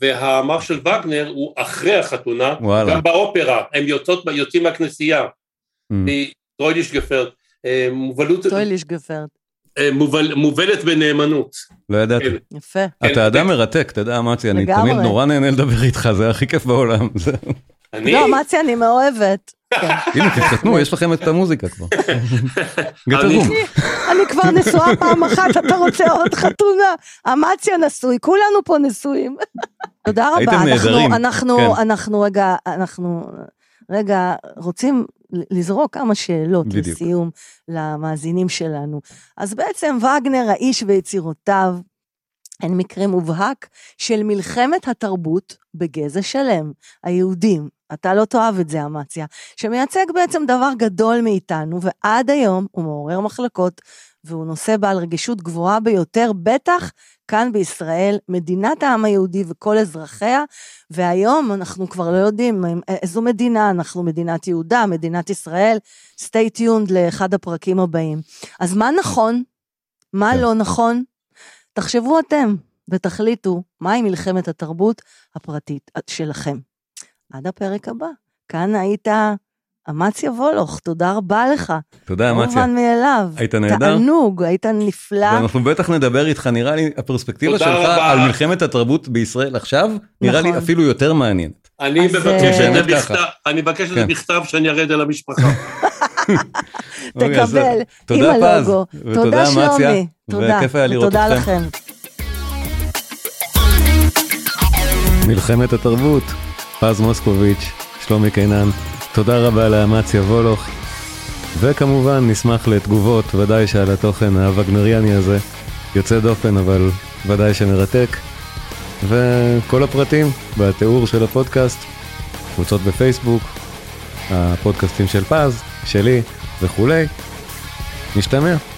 Speaker 3: והמרש של וגנר הוא אחרי החתונה,
Speaker 1: וואלה.
Speaker 3: גם באופרה, הם יוצאות, יוצאים מהכנסייה,
Speaker 1: Mm.
Speaker 3: טרוידיש גפרט, אה, מובלות-
Speaker 2: טויליש גפרט.
Speaker 3: אה, מובל- מובלת בנאמנות.
Speaker 1: לא ידעתי.
Speaker 3: כן.
Speaker 2: יפה.
Speaker 1: אתה אדם מרתק, אתה יודע, מצי, אני
Speaker 2: לגמרי.
Speaker 1: תמיד נורא נהנה לדבר איתך, זה הכי כיף בעולם. זה-
Speaker 3: אני,
Speaker 2: לא, מצי, אני מאוהבת. כן.
Speaker 1: הנה, תתחתנו, יש לכם את המוזיקה כבר. גטרום.
Speaker 2: אני כבר נשואה פעם אחת, אתה רוצה עוד חתונה? אמציה נשוי, כולנו פה נשואים. תודה רבה.
Speaker 1: הייתם
Speaker 2: אנחנו-
Speaker 1: נהדרים,
Speaker 2: אנחנו,
Speaker 1: כן.
Speaker 2: אנחנו רגע, אנחנו רגע רוצים ל- לזרוק כמה שאלות
Speaker 1: בדיוק.
Speaker 2: לסיום למאזינים שלנו. אז בעצם וגנר, האיש ויצירותיו, הן מקרה מובהק של מלחמת התרבות בגזע שלם, היהודים. אתה לא תאהב את זה, אמציה, שמייצג בעצם דבר גדול מאיתנו, ועד היום הוא מעורר מחלקות, והוא נושא בעל רגישות גבוהה ביותר, בטח כאן בישראל, מדינת העם היהודי וכל אזרחיה, והיום אנחנו כבר לא יודעים אה, איזו מדינה, אנחנו מדינת יהודה, מדינת ישראל, stay tuned לאחד הפרקים הבאים. אז מה נכון? מה
Speaker 1: כן.
Speaker 2: לא נכון? תחשבו אתם ותחליטו מהי מלחמת התרבות הפרטית אה, שלכם. עד הפרק הבא. כאן היית אמציה וולוך, תודה רבה לך.
Speaker 1: תודה,
Speaker 2: לא
Speaker 1: מציה.
Speaker 2: מובן מאליו.
Speaker 1: היית נהדר.
Speaker 2: תענוג, היית נפלא.
Speaker 1: ואנחנו בטח נדבר איתך, נראה לי, הפרספקטיבה
Speaker 3: תודה
Speaker 1: שלך
Speaker 3: רבה.
Speaker 1: על מלחמת התרבות בישראל עכשיו, נראה לי
Speaker 2: נכון.
Speaker 1: אפילו יותר מעניינת.
Speaker 3: אני
Speaker 2: אז,
Speaker 3: מבקש
Speaker 2: אה,
Speaker 3: את זה
Speaker 1: באמת ככה.
Speaker 3: בכתב, אני מבקש את זה
Speaker 1: כן.
Speaker 3: בכתב שאני ארד אל המשפחה.
Speaker 1: אוקיי, אז
Speaker 2: תקבל, עם
Speaker 1: תודה, פז.
Speaker 2: הלוגו.
Speaker 1: ותודה,
Speaker 2: תודה, שלומי.
Speaker 1: אמציה.
Speaker 2: תודה.
Speaker 1: וכיף היה לראות
Speaker 2: ותודה
Speaker 1: אתכם.
Speaker 2: לכם.
Speaker 1: מלחמת התרבות, פז מוסקוביץ', שלומי קינן, תודה רבה לאמציה וולוך, וכמובן נשמח לתגובות, ודאי שעל התוכן הווגנריאני הזה, יוצא דופן אבל ודאי שמרתק, וכל הפרטים בתיאור של הפודקאסט, קבוצות בפייסבוק, הפודקאסטים של פז, שלי וכולי. נשתמע.